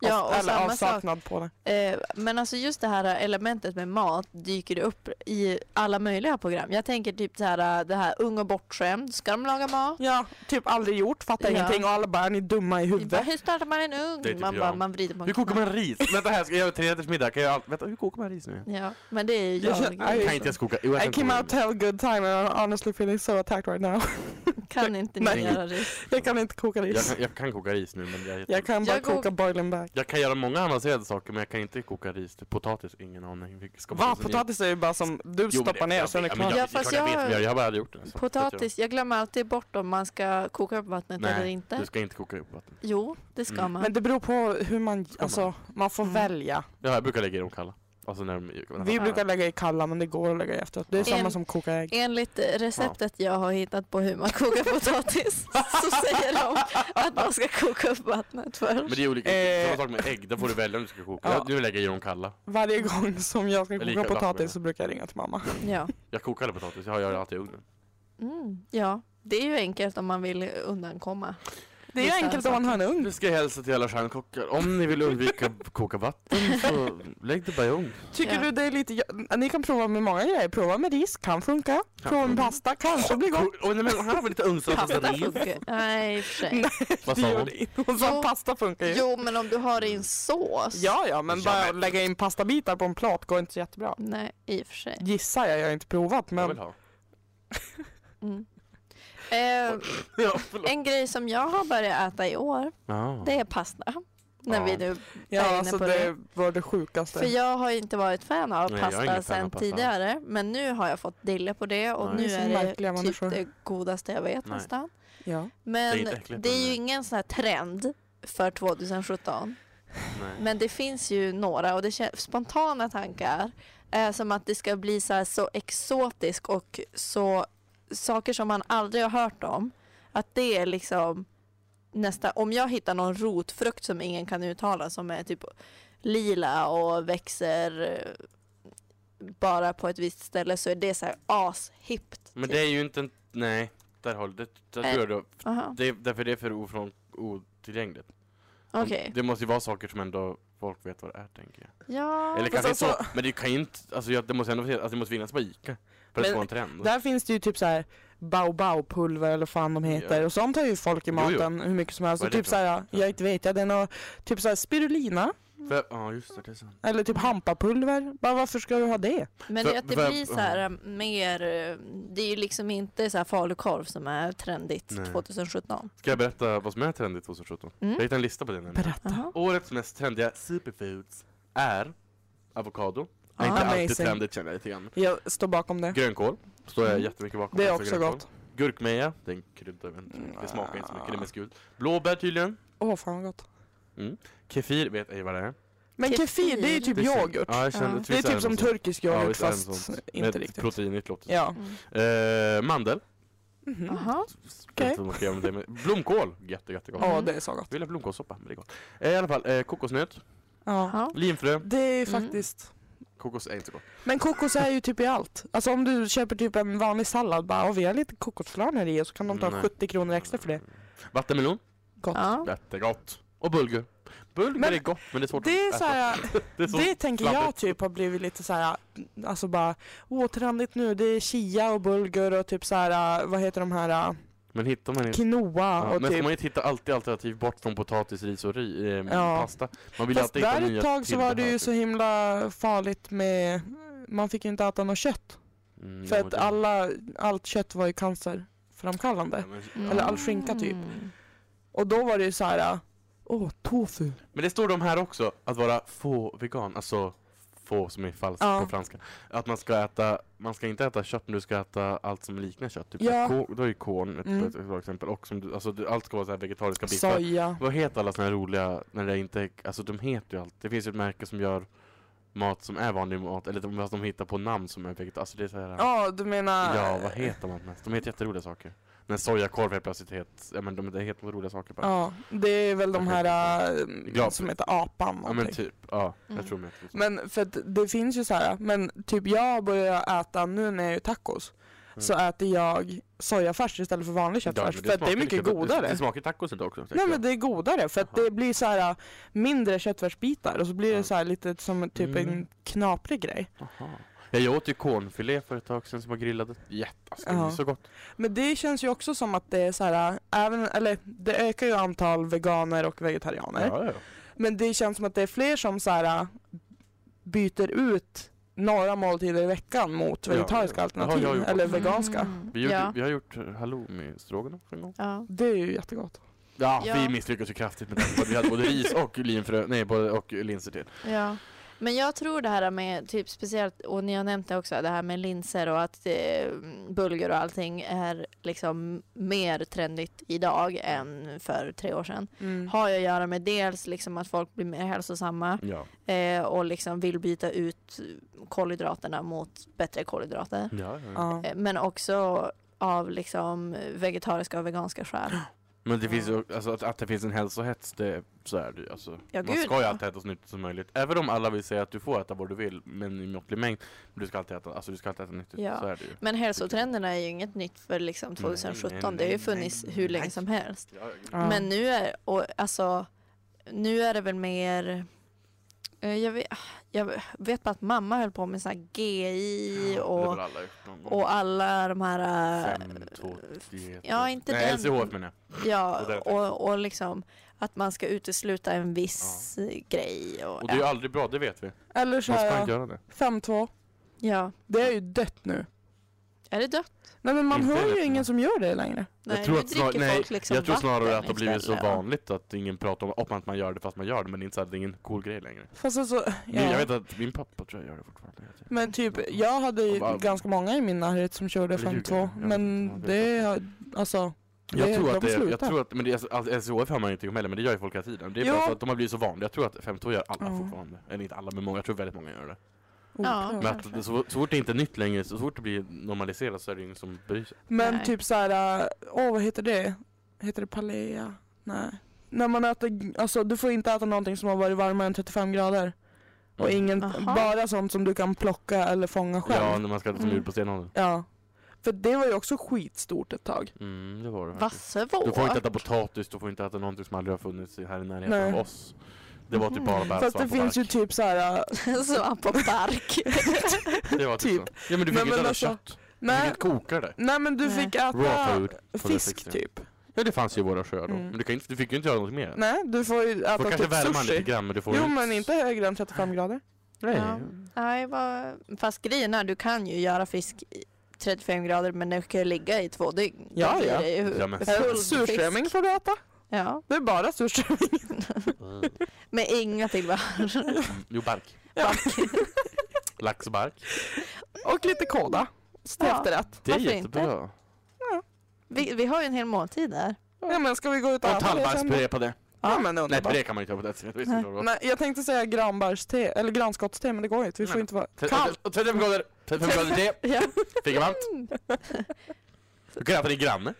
Speaker 4: Ja,
Speaker 3: Oft-
Speaker 4: och
Speaker 3: Alltså, eller
Speaker 4: samma sak.
Speaker 3: avsaknad på det.
Speaker 4: Eh, Men alltså just det här elementet med mat dyker det upp i alla möjliga program. Jag tänker typ så här, det här ung och bortskämd. Ska de laga mat?
Speaker 3: Ja, typ aldrig gjort, fattar
Speaker 4: Ja.
Speaker 3: ingenting och alla bara är ni dumma i
Speaker 4: Bara,
Speaker 3: huvudet.
Speaker 4: hur startar man en ugn?
Speaker 2: Det är typ
Speaker 4: man,
Speaker 2: jag.
Speaker 4: bara, man vrider på en
Speaker 2: Hur kokar
Speaker 4: knapp.
Speaker 2: man ris? Vänta här, ska jag göra tre rätters middag? Kan jag allt? Vänta, hur kokar man ris nu?
Speaker 4: Ja, men det är ju
Speaker 3: Jag
Speaker 4: jag.
Speaker 3: känner-
Speaker 4: liksom.
Speaker 2: Kan inte ens koka? Jo, jag
Speaker 3: I
Speaker 2: kan koka
Speaker 3: came out to
Speaker 2: ris.
Speaker 3: have a good time and I'm honestly feeling so attacked right now.
Speaker 4: Kan inte
Speaker 3: Nej.
Speaker 4: ni göra ris?
Speaker 3: Jag kan inte koka
Speaker 2: jag,
Speaker 3: ris.
Speaker 2: kan, jag kan koka ris nu men jag, är jätte-
Speaker 3: Jag kan bara
Speaker 4: Jag går-
Speaker 3: koka boiling bag.
Speaker 2: jag kan göra många avancerade saker men jag kan inte koka ris. Potatis, ingen aning. Vi ska
Speaker 3: Va?
Speaker 2: bara-
Speaker 3: Potatis är ju bara som du
Speaker 2: Jo, men
Speaker 3: stoppar
Speaker 2: det-
Speaker 3: ner
Speaker 2: jag
Speaker 3: sen är det
Speaker 2: vet- men
Speaker 3: klart.
Speaker 2: Jag,
Speaker 4: Ja,
Speaker 2: jag,
Speaker 4: fast
Speaker 2: jag, vet,
Speaker 4: jag-
Speaker 2: men jag, jag har bara aldrig gjort det. så- så att
Speaker 4: Potatis, jag glömmer alltid bort om man ska koka upp vattnet
Speaker 2: Nej,
Speaker 4: eller
Speaker 2: jag- Du
Speaker 4: inte.
Speaker 2: ska inte koka upp vatten.
Speaker 4: Jo, det ska
Speaker 2: Mm.
Speaker 4: man.
Speaker 3: Men det beror på hur man, alltså man får
Speaker 4: Mm.
Speaker 3: välja.
Speaker 2: Ja, jag brukar lägga i dem kalla. Alltså när de... när
Speaker 3: Vi
Speaker 2: de-
Speaker 3: brukar lägga i kalla men det går att lägga i efteråt. Det är
Speaker 2: Ja.
Speaker 3: samma
Speaker 4: En-
Speaker 3: som koka ägg.
Speaker 4: Enligt receptet jag har hittat på hur man kokar potatis så säger de att man ska koka upp vattnet
Speaker 2: Men
Speaker 4: först.
Speaker 2: det är olika.
Speaker 3: Eh.
Speaker 2: Samma sak med ägg. Där får du välja om du ska koka.
Speaker 3: Ja.
Speaker 2: Jag, nu lägger jag i dem kalla.
Speaker 3: Varje gång som jag ska
Speaker 2: Eller lika
Speaker 3: koka
Speaker 2: glatt menar jag.
Speaker 3: potatis så brukar jag ringa till mamma.
Speaker 4: Ja.
Speaker 2: Jag kokade potatis. Jag har jag har alltid i ugnen.
Speaker 4: Mm, ja, det är ju enkelt om man vill undankomma
Speaker 3: Det är enkelt om man har en ugn.
Speaker 2: Nu ska jag hälsa till alla stjärnkockar. Om ni vill undvika att koka vatten så lägg det bara i ugn.
Speaker 3: Tycker
Speaker 4: Ja.
Speaker 3: du det är lite... ja, Ni kan prova med många grejer. Prova med ris, kan funka. Prova med pasta, kanske blir gott.
Speaker 2: Och, nej, men här har vi lite ugnsraseri.
Speaker 4: Nej, i och för sig.
Speaker 3: Nej,
Speaker 2: Vad
Speaker 3: det
Speaker 2: sa
Speaker 3: gör
Speaker 2: hon?
Speaker 3: det inte. Hon sa
Speaker 4: Jo.
Speaker 3: pasta funkar ju.
Speaker 4: Jo, men om du har det i en sås.
Speaker 3: Ja, ja, men
Speaker 2: Ja,
Speaker 3: bara
Speaker 2: men-
Speaker 3: lägga in pastabitar på en plat går inte så jättebra.
Speaker 4: Nej, i och för sig.
Speaker 3: Gissar jag, jag har inte provat
Speaker 2: Jag vill
Speaker 3: men...
Speaker 2: ha.
Speaker 4: Mm. Eh,
Speaker 2: Ja, förlåt.
Speaker 4: en grej som jag har börjat äta i år,
Speaker 2: Ja.
Speaker 4: det är pasta. När
Speaker 2: Ja.
Speaker 4: vi nu
Speaker 3: Ja,
Speaker 4: är inne
Speaker 3: alltså
Speaker 4: på
Speaker 3: det,
Speaker 4: det.
Speaker 3: var det
Speaker 4: För
Speaker 3: sjukaste.
Speaker 4: jag har ju inte varit fan av
Speaker 2: Nej, jag är
Speaker 4: pasta
Speaker 2: ingen fan av
Speaker 4: sen
Speaker 2: pasta.
Speaker 4: tidigare. Men nu har jag fått dille på det och
Speaker 2: Nej.
Speaker 4: nu
Speaker 3: Ni är så
Speaker 4: är det
Speaker 3: märkliga
Speaker 4: typ
Speaker 3: människor.
Speaker 4: det godaste jag vet
Speaker 2: Nej.
Speaker 4: nästan.
Speaker 3: Ja.
Speaker 4: Men
Speaker 2: inte
Speaker 4: det är,
Speaker 2: äckligt,
Speaker 4: ju
Speaker 2: men-
Speaker 4: ingen sån här trend för 2017.
Speaker 2: Nej.
Speaker 4: Men det finns ju några och det kän- spontana tankar är som att det ska bli så, här så exotisk och så saker som man aldrig har hört om. Att det är liksom nästa, om jag hittar någon rotfrukt som ingen kan uttala som är typ lila och växer eh, bara på ett visst ställe så är det så här ashippt. typ.
Speaker 2: Men det är ju inte en... Nej. Där håller det. Där tror jag du...
Speaker 4: Aha,
Speaker 2: Det, därför det är för ofrån, otillgängligt.
Speaker 4: okej.
Speaker 2: Det måste ju vara saker som ändå folk vet vad det är, tänker jag.
Speaker 4: Ja.
Speaker 2: Eller
Speaker 3: fast
Speaker 2: kanske inte
Speaker 3: alltså-
Speaker 2: så, men det kan ju inte... Alltså jag, det måste ändå finnas, alltså, det måste finnas på Ica. För att
Speaker 3: Men
Speaker 2: få en trend.
Speaker 3: Där finns det ju typ så här baobabpulver eller fan de heter och sånt har ju folk i
Speaker 2: Jo, jo.
Speaker 3: maten hur mycket som helst.
Speaker 2: Vad
Speaker 3: Och
Speaker 2: är det
Speaker 3: typ
Speaker 2: för
Speaker 3: så här, jag inte vet jag, det är nå- typ så här spirulina
Speaker 2: För, ja, just det. Det är sant.
Speaker 3: eller typ hampapulver. Bara varför ska du ha det?
Speaker 4: Men
Speaker 2: För-
Speaker 4: det, att det
Speaker 2: för-
Speaker 4: blir så här eh, mer, eh, det är ju liksom inte så här falukorv som är trendigt
Speaker 2: Nej.
Speaker 4: 2017.
Speaker 2: Ska jag berätta vad som är trendigt 2017?
Speaker 4: Mm.
Speaker 2: Jag hittade en lista på det nämligen.
Speaker 3: Berätta.
Speaker 4: Jaha.
Speaker 2: Årets mest trendiga superfoods är avokado. Det är
Speaker 4: Ah,
Speaker 2: inte alltid
Speaker 3: amazing.
Speaker 2: trendigt känner jag lite grann.
Speaker 3: Jag står bakom det.
Speaker 2: Grönkål står jag
Speaker 3: Mm.
Speaker 2: jättemycket bakom.
Speaker 3: Det är
Speaker 2: alltså
Speaker 3: också
Speaker 2: grönkål.
Speaker 3: gott. Mm.
Speaker 2: Gurkmeja, det är en krydda, jag vet inte hur mycket. det smakar inte så mycket, det är mest gult.
Speaker 3: Ah.
Speaker 2: Blåbär tydligen.
Speaker 3: Åh fan vad gott.
Speaker 2: Kefir vet ej vad det är.
Speaker 3: Men kefir det är ju typ
Speaker 2: Det är-
Speaker 3: yoghurt.
Speaker 2: Ja, jag känner,
Speaker 4: Ja.
Speaker 2: visst
Speaker 3: Det är typ
Speaker 2: något
Speaker 3: som
Speaker 2: sånt.
Speaker 3: turkisk
Speaker 2: Ja,
Speaker 3: yoghurt
Speaker 2: visst är det något
Speaker 3: fast
Speaker 2: sånt.
Speaker 3: inte
Speaker 2: Med
Speaker 3: riktigt.
Speaker 2: proteinigt låter det
Speaker 3: Ja.
Speaker 4: Mm.
Speaker 2: som. eh, Mandel.
Speaker 3: Mhm.
Speaker 4: Jaha.
Speaker 2: Jag vet inte vad man ska göra med det, men Blomkål, jätte jättegott.
Speaker 3: Ja,
Speaker 4: Mm.
Speaker 3: det är så gott.
Speaker 2: Vill ha blomkålssoppa, men det är gott. Eh, I alla fall, eh, kokosnöt,
Speaker 3: Ja.
Speaker 4: Jaha.
Speaker 2: linfrö,
Speaker 3: Det är ju
Speaker 4: Mm.
Speaker 3: faktiskt...
Speaker 2: kokos är inte så gott.
Speaker 3: Men kokos är ju typ i allt. Alltså om du köper typ en vanlig sallad bara och vi har lite kokosflönor i så kan de ta
Speaker 2: Nej.
Speaker 3: 70 kronor extra för det.
Speaker 2: Vattenmelon,
Speaker 3: Gott.
Speaker 4: Ja.
Speaker 2: jättegott. Och bulgur. Bulgur
Speaker 3: Men
Speaker 2: är gott, men det är svårt
Speaker 3: Det är
Speaker 2: att
Speaker 3: så
Speaker 2: äta.
Speaker 3: här,
Speaker 2: det är så
Speaker 3: det tänker jag
Speaker 2: slabbigt.
Speaker 3: typ har blivit lite så här, alltså bara, åh trendigt nu, det är chia och bulgur och typ så här, vad heter de här,
Speaker 2: Men hittar man inte...
Speaker 3: quinoa
Speaker 2: Mm. Ja,
Speaker 3: och
Speaker 2: men får
Speaker 3: typ.
Speaker 2: man inte hitta alltid alternativ bort från potatis, ris och ri, eh,
Speaker 3: Ja.
Speaker 2: pasta? Man vill
Speaker 3: Fast
Speaker 2: alltid hitta
Speaker 3: där
Speaker 2: nya
Speaker 3: ett tag så var det
Speaker 2: tillbehör,
Speaker 3: ju så
Speaker 2: typ.
Speaker 3: himla farligt med, man fick ju inte äta något kött.
Speaker 2: Mm,
Speaker 3: För
Speaker 2: jo,
Speaker 3: att
Speaker 2: det-
Speaker 3: alla, allt kött var ju cancerframkallande.
Speaker 2: Ja, men, Mm.
Speaker 3: Eller all skinka typ.
Speaker 4: Mm.
Speaker 3: Och då var det ju så här, åh tofu.
Speaker 2: men det står de här också, att vara få vegan, alltså få som är falskt
Speaker 3: Ja.
Speaker 2: på franska. Att man ska äta, man ska inte äta kött men du ska äta allt som liknar kött. Typ
Speaker 3: Ja.
Speaker 2: ko, då är ju korn ett
Speaker 3: Mm.
Speaker 2: ett bra exempel. Och som du, alltså, du, allt ska vara så här vegetariska bitar.
Speaker 3: Soja.
Speaker 2: Vad heter alla såna här roliga, när det inte, alltså de heter ju allt. Det finns ju ett märke som gör mat som är vanlig mat, eller de, fast de hittar på namn som är veget, alltså det är så här,
Speaker 3: Ja, du menar...
Speaker 2: Ja, vad heter man mest? De heter jätteroliga saker. När sojakorv helt plötsligt het, ja men de det heter roliga saker bara.
Speaker 3: Ja, det är väl de här äh,
Speaker 2: Glad.
Speaker 3: som heter apan
Speaker 2: Ja, men
Speaker 3: någonting.
Speaker 2: typ, ja,
Speaker 4: Mm.
Speaker 2: jag tror de heter så.
Speaker 3: Men för att det finns ju så här, men typ jag börjar äta, nu när jag gör tacos, så äter jag sojafärs istället för vanlig
Speaker 2: Mm. Ja, men
Speaker 3: köttfärs för att det är
Speaker 2: smakar
Speaker 3: mycket
Speaker 2: lika gott. Det,
Speaker 3: godare.
Speaker 2: det smakar tacos inte också. tänker
Speaker 3: Nej men
Speaker 2: jag.
Speaker 3: det är godare för att
Speaker 2: Jaha.
Speaker 3: det blir så här äh, mindre köttfärsbitar och så blir
Speaker 2: Ja.
Speaker 3: det så här lite som typ en
Speaker 2: Mm.
Speaker 3: knaprig grej.
Speaker 2: Aha. Ja, jag åt ju cornfilé för ett tag sedan som var grillade. Jätte, alltså, det
Speaker 3: Ja.
Speaker 2: är så gott.
Speaker 3: Men det känns ju också som att det är så här, äh, även, eller det ökar ju antal veganer och vegetarianer.
Speaker 2: Ja, ja.
Speaker 3: Men det känns som att det är fler som så här, äh, byter ut några måltider i veckan mot
Speaker 2: Ja,
Speaker 3: vegetariska
Speaker 2: ja.
Speaker 3: alternativ
Speaker 2: Ja, ja, ja.
Speaker 3: eller veganska.
Speaker 4: Mm.
Speaker 2: Vi, gjorde,
Speaker 4: ja.
Speaker 2: vi har gjort halloumi stroganoff en gång.
Speaker 4: Ja.
Speaker 3: Det är ju jättegott.
Speaker 2: Ja,
Speaker 4: Ja.
Speaker 2: vi misslyckades ju kraftigt med det. Vi hade både ris och linfrö, nej, både, och linser till.
Speaker 4: ja. Men jag tror det här med, typ speciellt, och ni har nämnt det också, det här med linser och att eh, bulgur och allting är liksom mer trendigt idag än för tre år sedan.
Speaker 2: Mm.
Speaker 4: Har ju att göra med dels liksom att folk blir mer hälsosamma
Speaker 2: Ja.
Speaker 4: eh, och liksom vill byta ut kolhydraterna mot bättre kolhydrater.
Speaker 2: Ja, ja.
Speaker 3: Ja.
Speaker 4: Eh, Men också av liksom vegetariska och veganska skäl.
Speaker 2: Men det finns ju, alltså att, att det finns en hälsohets, det, så är det ju. alltså,
Speaker 4: Ja,
Speaker 2: Man
Speaker 4: gud,
Speaker 2: ska ju
Speaker 4: ja.
Speaker 2: alltid äta så nyttigt som möjligt. Även om alla vill säga att du får äta vad du vill, men i måttlig mängd. Men du ska alltid äta, alltså du ska alltid äta nyttigt,
Speaker 4: Ja.
Speaker 2: så är det ju.
Speaker 4: Men hälsotrenderna är ju inget nytt för liksom
Speaker 2: Nej,
Speaker 4: 2017.
Speaker 2: nej,
Speaker 4: det har ju
Speaker 2: nej,
Speaker 4: funnits
Speaker 2: nej,
Speaker 4: hur länge
Speaker 2: nej.
Speaker 4: som helst.
Speaker 2: Ja,
Speaker 3: Ja.
Speaker 4: Men nu är, och, alltså, nu är det väl mer... eh, Jag vet, jag vet bara att mamma höll på med så här GI
Speaker 2: det har
Speaker 4: och,
Speaker 2: väl alla gjort någon gång.
Speaker 4: och alla de här... eh,
Speaker 2: Fem, två, diet.
Speaker 4: ja, inte
Speaker 2: Nej,
Speaker 4: den.
Speaker 2: LCHF menar jag.
Speaker 4: Ja,
Speaker 2: Och där tänkte
Speaker 4: och, och liksom att man ska utesluta en viss eh, grej. Och,
Speaker 2: Och det är ju
Speaker 4: ja.
Speaker 2: aldrig bra, det vet vi.
Speaker 3: Eller så
Speaker 2: Man ska
Speaker 3: här,
Speaker 2: inte göra det.
Speaker 3: 5-2.
Speaker 4: ja.
Speaker 3: Det är ju dött nu.
Speaker 4: Är det dött?
Speaker 3: Nej men man
Speaker 2: Inte
Speaker 3: hör ju
Speaker 2: dött nu.
Speaker 3: ingen som gör det längre.
Speaker 4: Nej,
Speaker 2: jag tror,
Speaker 4: nu
Speaker 2: att snar-
Speaker 4: dricker
Speaker 2: nej,
Speaker 4: folk liksom
Speaker 2: jag tror snarare
Speaker 4: vatten
Speaker 2: att det har blivit så
Speaker 4: istället, ja.
Speaker 2: vanligt att ingen pratar om, om att man gör det fast man gör det, men det är inte så här, det är ingen cool grej längre.
Speaker 3: Fast alltså,
Speaker 2: Men Jag vet
Speaker 3: ja.
Speaker 2: att min pappa tror jag gör det fortfarande. Jag vet inte.
Speaker 3: Men typ, jag hade ju
Speaker 2: Och bara-
Speaker 3: ganska många i min närhet som körde
Speaker 2: Eller ljuger.
Speaker 3: 5-2.
Speaker 2: Jag
Speaker 3: Men
Speaker 2: vet inte, jag
Speaker 3: det,
Speaker 2: vet
Speaker 3: har- alltså.
Speaker 2: Jag
Speaker 3: det-
Speaker 2: tror
Speaker 3: de
Speaker 2: att det, jag
Speaker 3: slutar.
Speaker 2: tror att, men det, är- alltså, SHF hör man ju ingenting om heller, men det gör ju folk hela tiden. Det är
Speaker 3: Ja.
Speaker 2: bara för att de har blivit så vana. Jag tror att 52 gör alla
Speaker 3: Ja.
Speaker 2: fortfarande. Eller inte alla, men många. Jag tror väldigt många gör det.
Speaker 4: Ja.
Speaker 3: Oklart.
Speaker 2: Men att, det- så, så fort det inte är nytt längre, så fort det blir normaliserat så är det ingen som bryr sig.
Speaker 3: Men
Speaker 4: Nej.
Speaker 3: typ så här, äh, åh vad heter det? Heter det palea? Nej. När man äter, g- alltså du får inte äta någonting som har varit varmare än 35 grader. Och
Speaker 2: Mm.
Speaker 3: ingen,
Speaker 4: Aha.
Speaker 3: bara sånt som du kan plocka eller fånga
Speaker 2: Ja,
Speaker 3: själv.
Speaker 2: när man ska äta som
Speaker 4: Mm.
Speaker 2: jul på stenåldern.
Speaker 3: Ja. För det var ju också skitstort ett tag.
Speaker 2: Mm, det var det
Speaker 4: Va,
Speaker 2: faktiskt.
Speaker 4: så
Speaker 2: Du får inte
Speaker 4: vårt?
Speaker 2: äta potatis, du får inte äta någonting som aldrig har funnits i- här i närheten
Speaker 3: Nej.
Speaker 2: av oss. Det var typ bara
Speaker 4: Mhm.
Speaker 2: bär,
Speaker 3: Fast det
Speaker 2: svamp och
Speaker 3: finns ju
Speaker 2: bark.
Speaker 3: typ så här. äh,
Speaker 4: Svamp och bark.
Speaker 2: Det var typ, så. Ja men du fick
Speaker 3: Nej,
Speaker 2: inte
Speaker 3: men
Speaker 2: äta
Speaker 3: alltså-
Speaker 2: kött. Du fick
Speaker 3: nej,
Speaker 2: inte koka det.
Speaker 3: nej men du
Speaker 4: Nej.
Speaker 3: fick
Speaker 2: Raw
Speaker 3: äta
Speaker 2: food. får du
Speaker 3: fisk
Speaker 2: 60.
Speaker 3: typ.
Speaker 2: Ja det fanns ju i våra sjöar då.
Speaker 3: Mm.
Speaker 2: Men du, kan inte, du fick ju inte göra något mer.
Speaker 3: Nej du får ju
Speaker 2: Då
Speaker 3: äta
Speaker 2: Alltså. kanske
Speaker 3: typ
Speaker 2: värmer man lite
Speaker 3: sushi.
Speaker 2: grann men du får
Speaker 3: Jo
Speaker 2: ju
Speaker 3: men inte högre än 35 grader.
Speaker 2: Nej.
Speaker 4: Ja. Nej, vad... Fast grejen är, du kan ju göra fisk i 35 grader men den kan ju ligga i två dygn.
Speaker 3: Ja,
Speaker 4: Då blir
Speaker 3: ja.
Speaker 4: det ju
Speaker 2: Ja, men-
Speaker 4: full
Speaker 3: Äh,
Speaker 4: fisk.
Speaker 3: Surströmming får du äta.
Speaker 4: Ja,
Speaker 3: Det är bara surströmming.
Speaker 4: men inga tillbehör.
Speaker 2: Jo bark.
Speaker 3: Ja.
Speaker 2: Lax och bark.
Speaker 3: Och lite kåda. Till
Speaker 4: Ja.
Speaker 3: efterrätt.
Speaker 2: Det är
Speaker 4: Varför inte?
Speaker 2: jättebra.
Speaker 4: Vi, vi har ju en hel måltid där.
Speaker 3: Ja men ska vi gå ut och
Speaker 2: Och
Speaker 3: äta det sen? då?
Speaker 2: tallbarkspuré på det.
Speaker 3: Ja men
Speaker 2: Nej
Speaker 3: underbart.
Speaker 2: puré kan man inte ha på det sättet. Visst, det
Speaker 4: Nej.
Speaker 2: var bra.
Speaker 3: Nej, jag tänkte säga granbarste, eller granskottste, men det går inte. Vi får
Speaker 2: Nej.
Speaker 3: inte vara...
Speaker 2: Tre-
Speaker 3: Kallt!
Speaker 2: och 35 grader. 35 grader te.
Speaker 4: Ja.
Speaker 2: Fick varmt. Du kan äta din granne.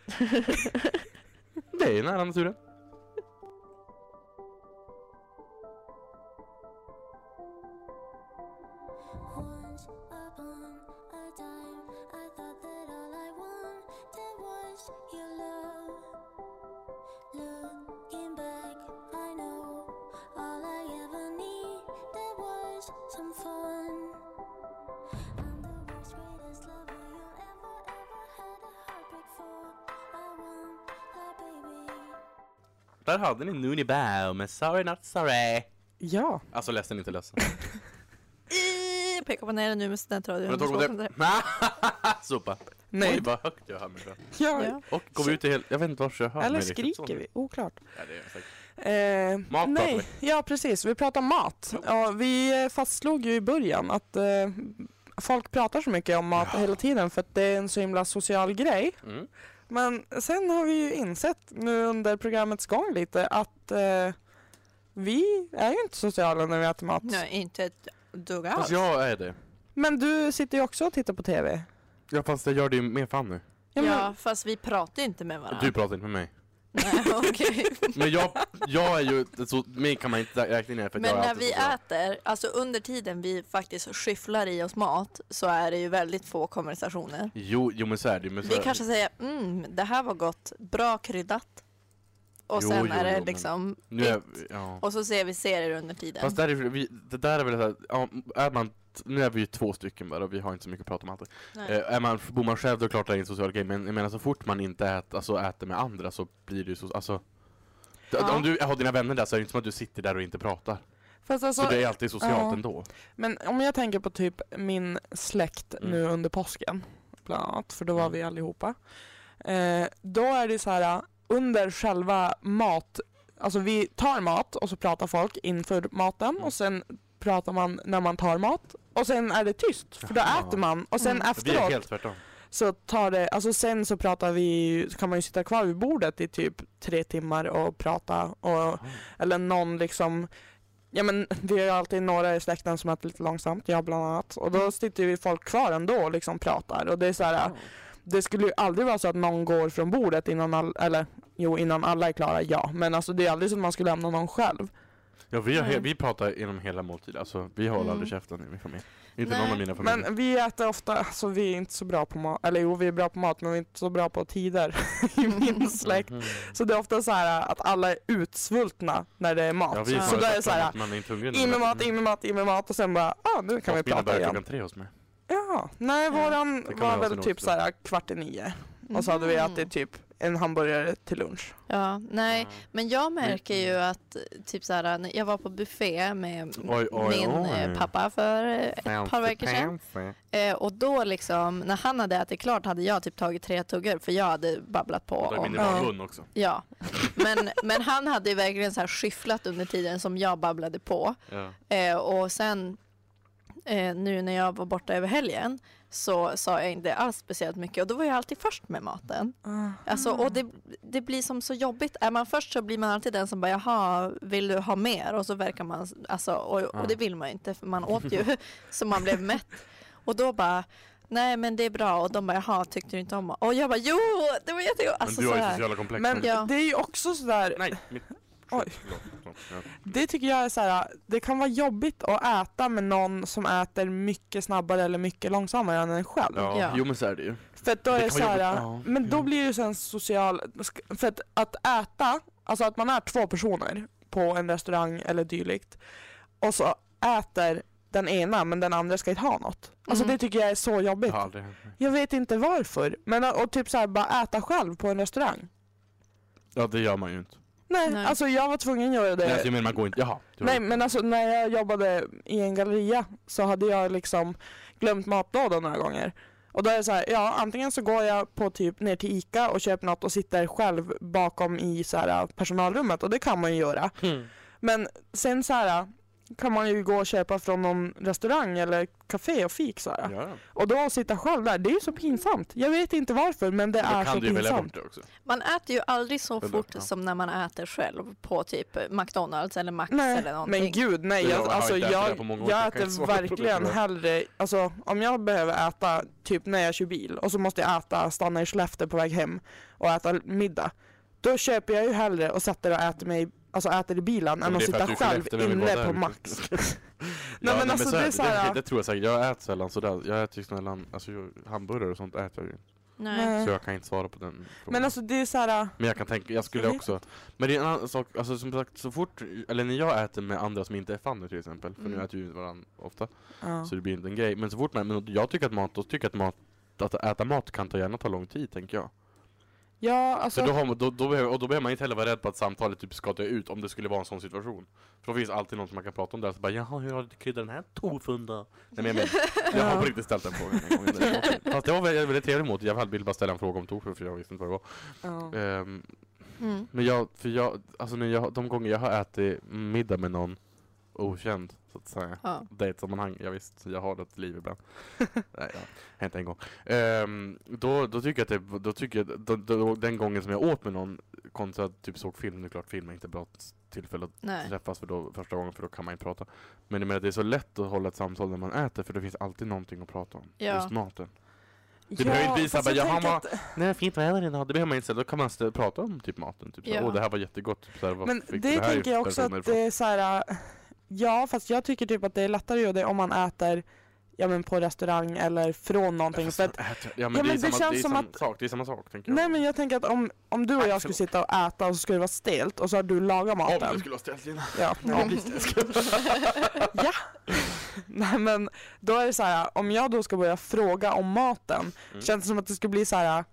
Speaker 2: Det är nära naturen.
Speaker 6: Once upon a time, I thought that all I wanted was your love. Looking back, I know all I ever needed was some fun. I'm the world's greatest lover you'll ever, ever had a heartbreak for. I want a baby.
Speaker 2: Där hade ni Noonie Bow med Sorry Not Sorry.
Speaker 3: Ja.
Speaker 2: Alltså ledsen inte ledsen.
Speaker 4: I- Pekar på ner nu med studentradion.
Speaker 2: Men då tog det. Sopa. Oj
Speaker 3: Nej.
Speaker 2: vad högt jag hör mig själv.
Speaker 3: Ja.
Speaker 4: Ja.
Speaker 2: Och går ut i hel... Jag vet inte vart jag hör
Speaker 3: Eller
Speaker 2: mig riktigt.
Speaker 3: skriker vi? Oklart.
Speaker 2: Ja, det är säkert.
Speaker 3: Eh,
Speaker 2: pratar
Speaker 3: nej, ja precis. Vi pratar mat. Ja, vi eh, fastslog ju i början att eh, folk pratar så mycket om mat hela tiden för att det är en så himla social grej.
Speaker 2: Mm.
Speaker 3: Men sen har vi ju insett nu under programmets gång lite att eh, vi är ju inte sociala när vi äter mat.
Speaker 4: Nej, inte ett dugg alls.
Speaker 2: Fast jag är det.
Speaker 3: Men du sitter ju också och tittar på TV.
Speaker 2: Ja fast jag gör det ju med Fanny.
Speaker 3: Ja, men-
Speaker 4: Ja, fast vi pratar ju inte med varandra.
Speaker 2: Du pratar inte med mig.
Speaker 4: Nej, okej.
Speaker 2: Men jag, jag är ju, ett så, mig kan man inte räkna ner för att
Speaker 4: Men
Speaker 2: jag är
Speaker 4: när
Speaker 2: alltid
Speaker 4: vi
Speaker 2: så bra.
Speaker 4: äter, alltså under tiden vi faktiskt skyfflar i oss mat så är det ju väldigt få konversationer.
Speaker 2: Jo, jo men så är det ju, men så
Speaker 4: Vi
Speaker 2: är-
Speaker 4: kanske säger mm, det här var gott, bra kryddat. Och
Speaker 2: Jo,
Speaker 4: sen
Speaker 2: jo,
Speaker 4: är
Speaker 2: jo,
Speaker 4: det
Speaker 2: men-
Speaker 4: liksom
Speaker 2: nu är,
Speaker 4: ett.
Speaker 2: ja.
Speaker 4: Och så ser vi serier under tiden.
Speaker 2: Fast där är, vi, det där är väl såhär, ja, är man, nu är vi ju två stycken bara och vi har inte så mycket att prata om alltid.
Speaker 4: Nej.
Speaker 2: Eh, är man, bor man själv då är det klart det är en social grej, men jag menar så fort man inte äter, alltså, äter med andra så blir det ju så, alltså d-
Speaker 4: Ja.
Speaker 2: Om du har dina vänner där så är det inte som att du sitter där och inte pratar.
Speaker 3: Fast alltså,
Speaker 2: så det är alltid socialt
Speaker 3: ja.
Speaker 2: ändå.
Speaker 3: Men om jag tänker på typ min släkt
Speaker 2: Mm.
Speaker 3: nu under påsken, bland annat, för då var
Speaker 2: Mm.
Speaker 3: vi allihopa. Eh, då är det så här eh, under själva mat, alltså vi tar mat och så pratar folk inför maten
Speaker 2: Mm.
Speaker 3: och sen pratar man när man tar mat och sen är det tyst för då
Speaker 2: Jaha.
Speaker 3: äter man och sen
Speaker 4: Mm.
Speaker 2: Vi är
Speaker 3: efteråt
Speaker 2: helt tvärtom.
Speaker 3: så tar det, alltså sen så pratar vi, så kan man ju sitta kvar vid bordet i typ tre timmar och prata och eller någon liksom Ja men vi har ju alltid några i släkten som äter lite långsamt, jag bland annat. Och då sitter ju folk kvar ändå och liksom pratar. Och det är så här, det skulle ju aldrig vara så att någon går från bordet innan all, eller Jo, innan alla är klara, ja. Men alltså det är aldrig så att man ska lämna någon själv.
Speaker 2: Ja, vi, har he-
Speaker 3: Mm.
Speaker 4: Nej.
Speaker 2: vi pratar genom hela måltiden, alltså vi håller
Speaker 4: Mm.
Speaker 2: aldrig käften i min familj. Inte
Speaker 4: Nej.
Speaker 2: någon av mina familjer.
Speaker 3: Men vi äter ofta, alltså vi är inte så bra på mat, eller jo vi är bra på mat men vi är inte så bra på tider i min släkt.
Speaker 2: Mhm.
Speaker 3: Så det är ofta så här att alla är utsvultna när det är mat.
Speaker 2: Ja, vi
Speaker 4: Så
Speaker 2: så
Speaker 4: då
Speaker 3: är det så här,
Speaker 2: man är inte hungrig.
Speaker 3: In med mat, in med mat, in med mat och sen bara, ah, nu kan vi prata igen.
Speaker 2: klockan tre hos mig.
Speaker 3: Ja, nej våran
Speaker 2: kan man
Speaker 3: var
Speaker 2: ha
Speaker 3: väl
Speaker 2: sin
Speaker 3: typ
Speaker 2: åsikt.
Speaker 3: så här kvart i nio. Och så hade vi
Speaker 4: Mhm.
Speaker 3: ätit typ en hamburgare till lunch.
Speaker 4: Ja, nej.
Speaker 2: Ja. Mm.
Speaker 4: Men jag märker ju att eh, typ så här, när jag var på buffé med
Speaker 2: Oj, oj,
Speaker 4: min eh,
Speaker 2: oj.
Speaker 4: pappa för eh, ett par veckor sedan.
Speaker 2: Fancy.
Speaker 4: Eh, och då liksom, när han hade ätit klart hade jag typ tagit tre tuggor för jag hade babblat på
Speaker 2: Och där är
Speaker 4: om
Speaker 2: min
Speaker 3: Ja.
Speaker 2: mun också.
Speaker 4: Ja, men, men han hade ju verkligen så här skyfflat under tiden som jag babblade på.
Speaker 2: Ja.
Speaker 4: Eh, och sen eh, nu när jag var borta över helgen så sa jag inte alls speciellt mycket och då var jag alltid först med maten. Alltså, och det, det blir som så jobbigt. Är man först så blir man alltid den som bara jaha, vill du ha mer? Och så verkar man, alltså, och, och det vill man ju inte för man åt ju så man blev mätt. Och då bara Nej men det är bra och de bara jaha tyckte du inte om Och jag bara jo det var jättegott!
Speaker 2: Men
Speaker 4: Alltså,
Speaker 2: du har
Speaker 4: så
Speaker 2: ju
Speaker 4: här.
Speaker 2: sociala komplex.
Speaker 3: Men
Speaker 4: Ja.
Speaker 3: det är ju också sådär,
Speaker 2: Nej, mitt...
Speaker 3: Oj.
Speaker 2: Förlåt, förlåt, förlåt. Ja.
Speaker 3: det tycker jag är såhär, det kan vara jobbigt att äta med någon som äter mycket snabbare eller mycket långsammare än en själv.
Speaker 2: Ja.
Speaker 4: Ja.
Speaker 2: jo men så är det ju.
Speaker 3: För att då
Speaker 2: Det
Speaker 3: är det
Speaker 2: kan vara
Speaker 3: såhär,
Speaker 2: jobbigt, ja.
Speaker 3: men då
Speaker 2: Mm.
Speaker 3: blir det ju sen social, för att, att äta, alltså att man är två personer på en restaurang eller dylikt och så äter den ena men den andra ska inte ha något. Alltså
Speaker 4: Mm.
Speaker 3: det tycker jag är så
Speaker 2: Det
Speaker 3: jobbigt.
Speaker 2: har aldrig hänt mig.
Speaker 3: Jag vet inte varför. Men och, och typ såhär, bara äta själv på en restaurang.
Speaker 2: Ja det gör man ju inte.
Speaker 3: Nej,
Speaker 4: Nej.
Speaker 3: alltså jag var tvungen att göra det.
Speaker 2: Nej, alltså, jag menar man går inte, jaha. du har-
Speaker 3: Nej men alltså när jag jobbade i en galleria så hade jag liksom glömt matlådan några gånger. Och då är det så här, ja antingen så går jag på typ ner till ICA och köper något och sitter själv bakom i så här, äh, personalrummet och det kan man ju göra.
Speaker 2: Mm.
Speaker 3: Men sen så här äh, kan man ju gå och köpa från någon restaurang eller café och fik så här.
Speaker 2: Ja.
Speaker 3: Och då sitta själv där, det är ju så pinsamt. Jag vet inte varför men det
Speaker 2: Då
Speaker 3: är så
Speaker 2: kan du ju välja
Speaker 3: pinsamt.
Speaker 2: bort det också.
Speaker 4: Man äter ju aldrig så
Speaker 2: Eller,
Speaker 4: fort
Speaker 2: ja.
Speaker 4: som när man äter själv på typ McDonalds eller Max
Speaker 3: Nej,
Speaker 4: eller någonting.
Speaker 3: men gud nej.
Speaker 2: Jag
Speaker 3: Jag,
Speaker 2: har
Speaker 3: alltså,
Speaker 2: inte ätit det här
Speaker 3: jag,
Speaker 2: på många år, så
Speaker 3: jag
Speaker 2: jag kan inte
Speaker 3: äter
Speaker 2: svara på det,
Speaker 3: verkligen
Speaker 2: tyvärr.
Speaker 3: hellre, alltså om jag behöver äta typ när jag kör bil och så måste jag äta, stanna i Skellefteå på väg hem och äta middag. Då köper jag ju hellre och sätter och äter mig Alltså äter i bilen
Speaker 2: Men
Speaker 3: än att
Speaker 2: det är för
Speaker 3: sitta
Speaker 2: att du är
Speaker 3: själv
Speaker 2: Skellefteå, vem vill
Speaker 3: inne
Speaker 2: vara
Speaker 3: på
Speaker 2: där?
Speaker 3: Max.
Speaker 2: Ja,
Speaker 3: men
Speaker 2: nej,
Speaker 3: alltså, det är så här-
Speaker 2: det, det tror jag säkert. Jag äter sällan sådär. Jag äter ju snällan, alltså ju- hamburgare och sånt äter jag ju inte.
Speaker 4: Nej.
Speaker 2: Så jag kan inte svara på den frågan.
Speaker 3: Mm. Men alltså Mm. det är såhär,
Speaker 2: Men jag kan tänka, jag skulle
Speaker 3: Jag vet
Speaker 2: också Men det är en annan sak, alltså som sagt så fort Eller när jag äter med andra som inte är Fanny till exempel För nu
Speaker 4: Mm.
Speaker 2: äter vi inte varandra ofta
Speaker 3: ja.
Speaker 2: Så det blir inte en grej Men så fort man, men jag tycker att mat, då tycker jag att mat Att äta mat kan ta gärna ta lång tid tänker jag
Speaker 3: ja
Speaker 2: så då,
Speaker 3: alltså,
Speaker 2: har man, då, då behöver, Och då behöver man inte heller vara rädd på att samtalet typ ska dö ut Om det skulle vara en sån situation För då finns alltid någon som man kan prata om där Så bara jaha hur har du kryddat den här tofu då? Nej men jag menar, jag har på riktigt ställt den frågan en gång Fast det var väldigt, väldigt trevligt mot Jag ville bara ställa en fråga om tofu för jag visste inte vad det
Speaker 3: ja.
Speaker 2: var Ehm,
Speaker 4: Mm.
Speaker 2: men jag, för jag, alltså när jag, de gånger jag har ätit middag med någon okänd, så att säga.
Speaker 4: Ja.
Speaker 2: Det är ett sammanhang, ja, visst, jag har ett liv ibland. Nej, ja, hänt en gång. Ehm, då, då tycker jag att det, då tycker jag, då, då, den gången som jag åt med någon, kontra att typ såg film, det är klart film är inte bra tillfälle att
Speaker 4: Nej.
Speaker 2: träffas för då, första gången för då kan man inte prata. Men jag menar, det är så lätt att hålla ett samtal när man äter för det finns alltid någonting att prata om.
Speaker 4: Ja.
Speaker 2: Just maten. Det behöver inte bli så här, bara,
Speaker 3: fast jag
Speaker 2: jaha,
Speaker 3: tänker
Speaker 2: man-
Speaker 3: att-
Speaker 2: Nej, fint väder idag. Det behöver man inte säga. Då kan man stä- prata om typ maten. Typ,
Speaker 4: Ja.
Speaker 2: ja. Åh, det här var jättegott. Typ, så här, vad
Speaker 3: Men
Speaker 2: fick du
Speaker 3: det
Speaker 2: här
Speaker 3: tänker jag också
Speaker 2: personen
Speaker 3: att
Speaker 2: ifrån?
Speaker 3: det är så här. äh, Ja, fast jag tycker typ att det är lättare att göra det om man äter ja, men på restaurang eller från någonting.
Speaker 2: Fast
Speaker 3: För att,
Speaker 2: man äter- Ja,
Speaker 3: Ja,
Speaker 2: men det är
Speaker 3: men det
Speaker 2: samma- det
Speaker 3: känns
Speaker 2: är
Speaker 3: som
Speaker 2: samma
Speaker 3: att-
Speaker 2: sak. Det är samma sak, tänker jag.
Speaker 3: nej men jag tänker att om, om du och
Speaker 2: Tack,
Speaker 3: jag skulle sitta och äta och så skulle det vara stelt och så har du lagat
Speaker 2: Om du
Speaker 3: maten.
Speaker 2: skulle ha ställt in.
Speaker 3: Ja, om. ja. Nej men då är det så här, om jag då ska börja fråga om maten
Speaker 2: Mm.
Speaker 3: känns det som att det skulle bli så här. äh,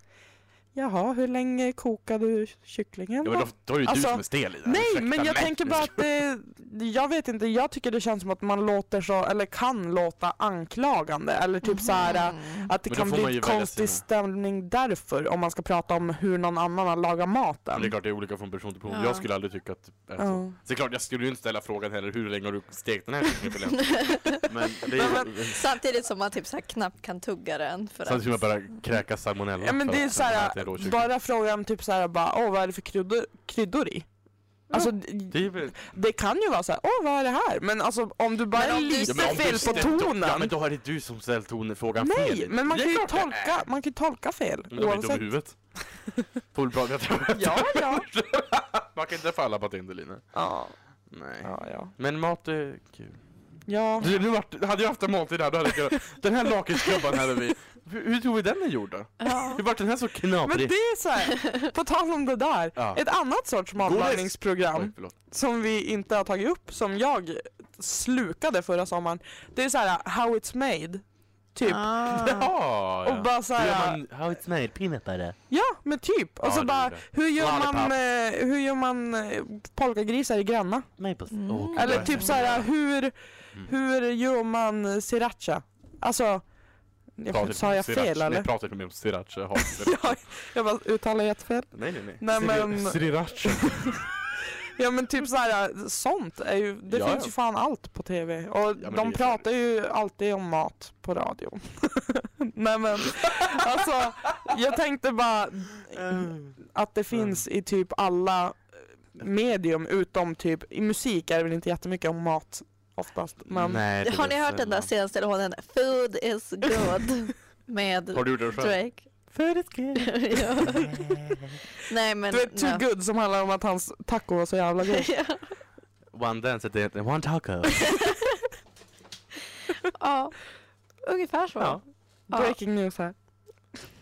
Speaker 3: Jaha, hur länge kokade du kycklingen?
Speaker 2: Ja,
Speaker 3: då?
Speaker 2: men då, då är det ju
Speaker 3: Alltså,
Speaker 2: du som är stel i det här.
Speaker 3: Nej,
Speaker 2: Ursäkta
Speaker 3: men jag
Speaker 2: mig.
Speaker 3: tänker bara att det, jag vet inte, jag tycker det känns som att man låter så, eller kan låta anklagande eller typ så här
Speaker 4: Mm.
Speaker 3: att det
Speaker 2: Men då
Speaker 3: kan
Speaker 2: får man
Speaker 3: bli
Speaker 2: ju
Speaker 3: ett
Speaker 2: välja
Speaker 3: konstig
Speaker 2: sina.
Speaker 3: stämning därför om man ska prata om hur någon annan har lagat
Speaker 2: Men det är
Speaker 3: maten.
Speaker 2: klart, det är olika från person till person.
Speaker 4: Ja.
Speaker 2: Jag skulle aldrig tycka att det är så.
Speaker 3: Ja.
Speaker 2: Så det är klart, jag skulle ju inte ställa frågan heller hur länge har du stekt den här kycklingen Men det är ju...
Speaker 4: Samtidigt som man typ så här knappt kan tugga den. För
Speaker 2: Samtidigt som jag
Speaker 4: att...
Speaker 2: bara kräkas salmonella.
Speaker 3: Ja men
Speaker 2: för
Speaker 3: det är
Speaker 2: att
Speaker 3: så
Speaker 2: man äter en rå
Speaker 3: här,
Speaker 2: kyckling.
Speaker 3: bara frågan typ så här bara, åh vad är det för kryddor, kryddor i? Alltså, d-
Speaker 2: Det är väl...
Speaker 3: det kan ju vara så här, åh vad är det här? Men alltså om du bara
Speaker 4: Men
Speaker 3: är
Speaker 4: om du
Speaker 3: lite
Speaker 4: ställer-
Speaker 3: fel på
Speaker 2: ställt- Ja men
Speaker 3: tonen.
Speaker 2: då är det du som ställt tonen frågan
Speaker 3: Nej,
Speaker 2: fel.
Speaker 3: men man
Speaker 2: Det är
Speaker 3: kan, ju
Speaker 2: klart det är.
Speaker 3: tolka, man kan ju tolka fel.
Speaker 2: Men de är dumma i
Speaker 3: Oavsett.
Speaker 2: huvudet. Får väl bra veta.
Speaker 3: Ja, ja.
Speaker 2: Man kan inte falla på Tinder Lina.
Speaker 3: Ja,
Speaker 2: Nej.
Speaker 3: ja, ja.
Speaker 2: Men mat är kul.
Speaker 3: Ja,
Speaker 2: Du, nu vart, hade jag haft en måltid här då hade jag kunnat... Den här lakritsgubben hade vi. Hur, hur tror vi den är gjord då?
Speaker 4: Ja.
Speaker 2: Hur vart den här så
Speaker 3: men det
Speaker 2: knaprig?
Speaker 3: är så här, på tal om det där.
Speaker 2: Ja.
Speaker 3: Ett annat sorts
Speaker 2: Oj,
Speaker 3: matlagningsprogram
Speaker 2: förlåt.
Speaker 3: som vi inte har tagit upp, som jag slukade förra sommaren. Det är så här, how it's made. Typ.
Speaker 4: Ah.
Speaker 2: Jaha!
Speaker 3: Och bara så
Speaker 2: Hur
Speaker 3: här,
Speaker 2: gör man how it's made? Peanut butter?
Speaker 3: ja men typ. Och
Speaker 2: Ja,
Speaker 3: så
Speaker 2: det är
Speaker 3: bara,
Speaker 2: det.
Speaker 3: hur gör man,
Speaker 2: Lollipop.
Speaker 3: eh, hur gör man eh, polkagrisar i Gränna?
Speaker 2: Maple. oh,
Speaker 4: Mm.
Speaker 2: Åh,
Speaker 3: Eller
Speaker 2: gud,
Speaker 3: typ
Speaker 2: vad
Speaker 3: så här, hur,
Speaker 2: Mm.
Speaker 3: hur gör man sriracha? Alltså,
Speaker 2: Pratar
Speaker 3: jag,
Speaker 2: typ
Speaker 3: sa
Speaker 2: om
Speaker 3: jag
Speaker 2: sriracha.
Speaker 3: fel
Speaker 2: Nej,
Speaker 3: eller?
Speaker 2: pratar inte om sriracha. Jag har
Speaker 3: Ja, jag bara uttalar jättefel.
Speaker 2: Nej, nej, nej.
Speaker 3: Nej,
Speaker 2: Sri-
Speaker 3: men-
Speaker 2: Sriracha.
Speaker 3: Ja men typ så här, sånt är ju, det
Speaker 2: Ja,
Speaker 3: finns
Speaker 2: ja.
Speaker 3: ju fan allt på tv. Och
Speaker 2: men det är
Speaker 3: de pratar ju alltid om mat på radio. Nej men, alltså jag tänkte bara
Speaker 2: Eh.
Speaker 4: mm.
Speaker 3: att det finns i typ alla medium utom typ, i musik är det väl inte jättemycket om mat oftast. Men
Speaker 2: Nej, det
Speaker 4: Har ni
Speaker 2: är
Speaker 4: hört den där
Speaker 2: sällan.
Speaker 4: senaste låten? Food is good. Med
Speaker 2: Har du gjort den själv?
Speaker 4: Drake. Food is good. ja. Nej men.
Speaker 3: du vet Too
Speaker 4: ja.
Speaker 3: Good som handlar om att hans taco var så jävla god.
Speaker 4: Ja.
Speaker 2: One dance at the end, one taco.
Speaker 4: ja. Ungefär så.
Speaker 3: Ja.
Speaker 4: Ja.
Speaker 3: Breaking news här.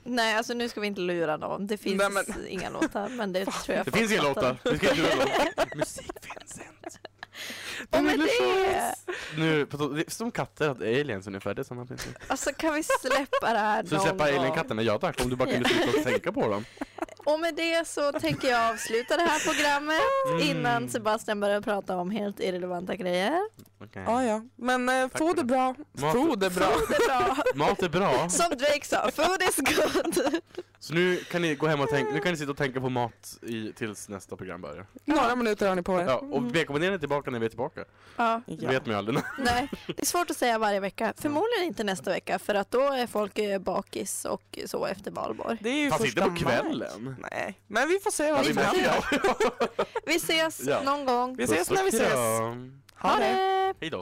Speaker 4: Nej alltså nu ska vi inte lura någon. Det finns
Speaker 3: Nej, men-
Speaker 4: inga låtar. Men det tror jag
Speaker 2: Det finns inga
Speaker 4: folk fattar.
Speaker 2: låtar. Vi ska inte göra låtar. Musik finns inte.
Speaker 4: Ja,
Speaker 3: Den
Speaker 4: men
Speaker 3: lille
Speaker 4: det!
Speaker 2: Nu, på tal- det är som katter, att aliens ungefär, det är samma princip.
Speaker 4: Alltså kan vi släppa det här
Speaker 2: Så
Speaker 4: någon
Speaker 2: släppa
Speaker 4: gång?
Speaker 2: alien-katterna, ja tack, om du bara kunde sluta att tänka på dem.
Speaker 4: Och med det så tänker jag avsluta det här programmet
Speaker 2: Mm.
Speaker 4: innan Sebastian börjar prata om helt irrelevanta grejer.
Speaker 2: Okej.
Speaker 3: Ja, ja. Men eh,
Speaker 2: Tack
Speaker 3: få
Speaker 2: för
Speaker 3: det
Speaker 2: det.
Speaker 3: bra.
Speaker 2: Mat-
Speaker 3: Få det bra.
Speaker 4: Oh, Det är bra.
Speaker 2: Mat är bra,
Speaker 4: Som Drake sa, food is good.
Speaker 2: så nu kan ni gå hem och tänka, nu kan ni sitta och tänka på mat i, tills nästa program börjar.
Speaker 3: Några minuter har ni på er.
Speaker 2: Ja, och välkommen är tillbaka när vi är tillbaka.
Speaker 4: Ja,
Speaker 2: Det vet man ju aldrig.
Speaker 4: nej. Det är svårt att säga varje vecka. Förmodligen inte nästa vecka för att då är folk eh, bakis och så efter valborg.
Speaker 3: Det är ju
Speaker 2: Fast
Speaker 3: första
Speaker 2: inte på
Speaker 3: maj.
Speaker 2: kvällen.
Speaker 3: Nej, men vi får se
Speaker 2: Ja,
Speaker 3: vad
Speaker 2: vi
Speaker 3: som
Speaker 2: märker
Speaker 3: händer.
Speaker 2: det.
Speaker 4: Vi ses
Speaker 2: Ja.
Speaker 4: någon gång.
Speaker 3: Vi ses när vi ses.
Speaker 2: Puss och kram.
Speaker 3: Ha det!
Speaker 2: Hej då.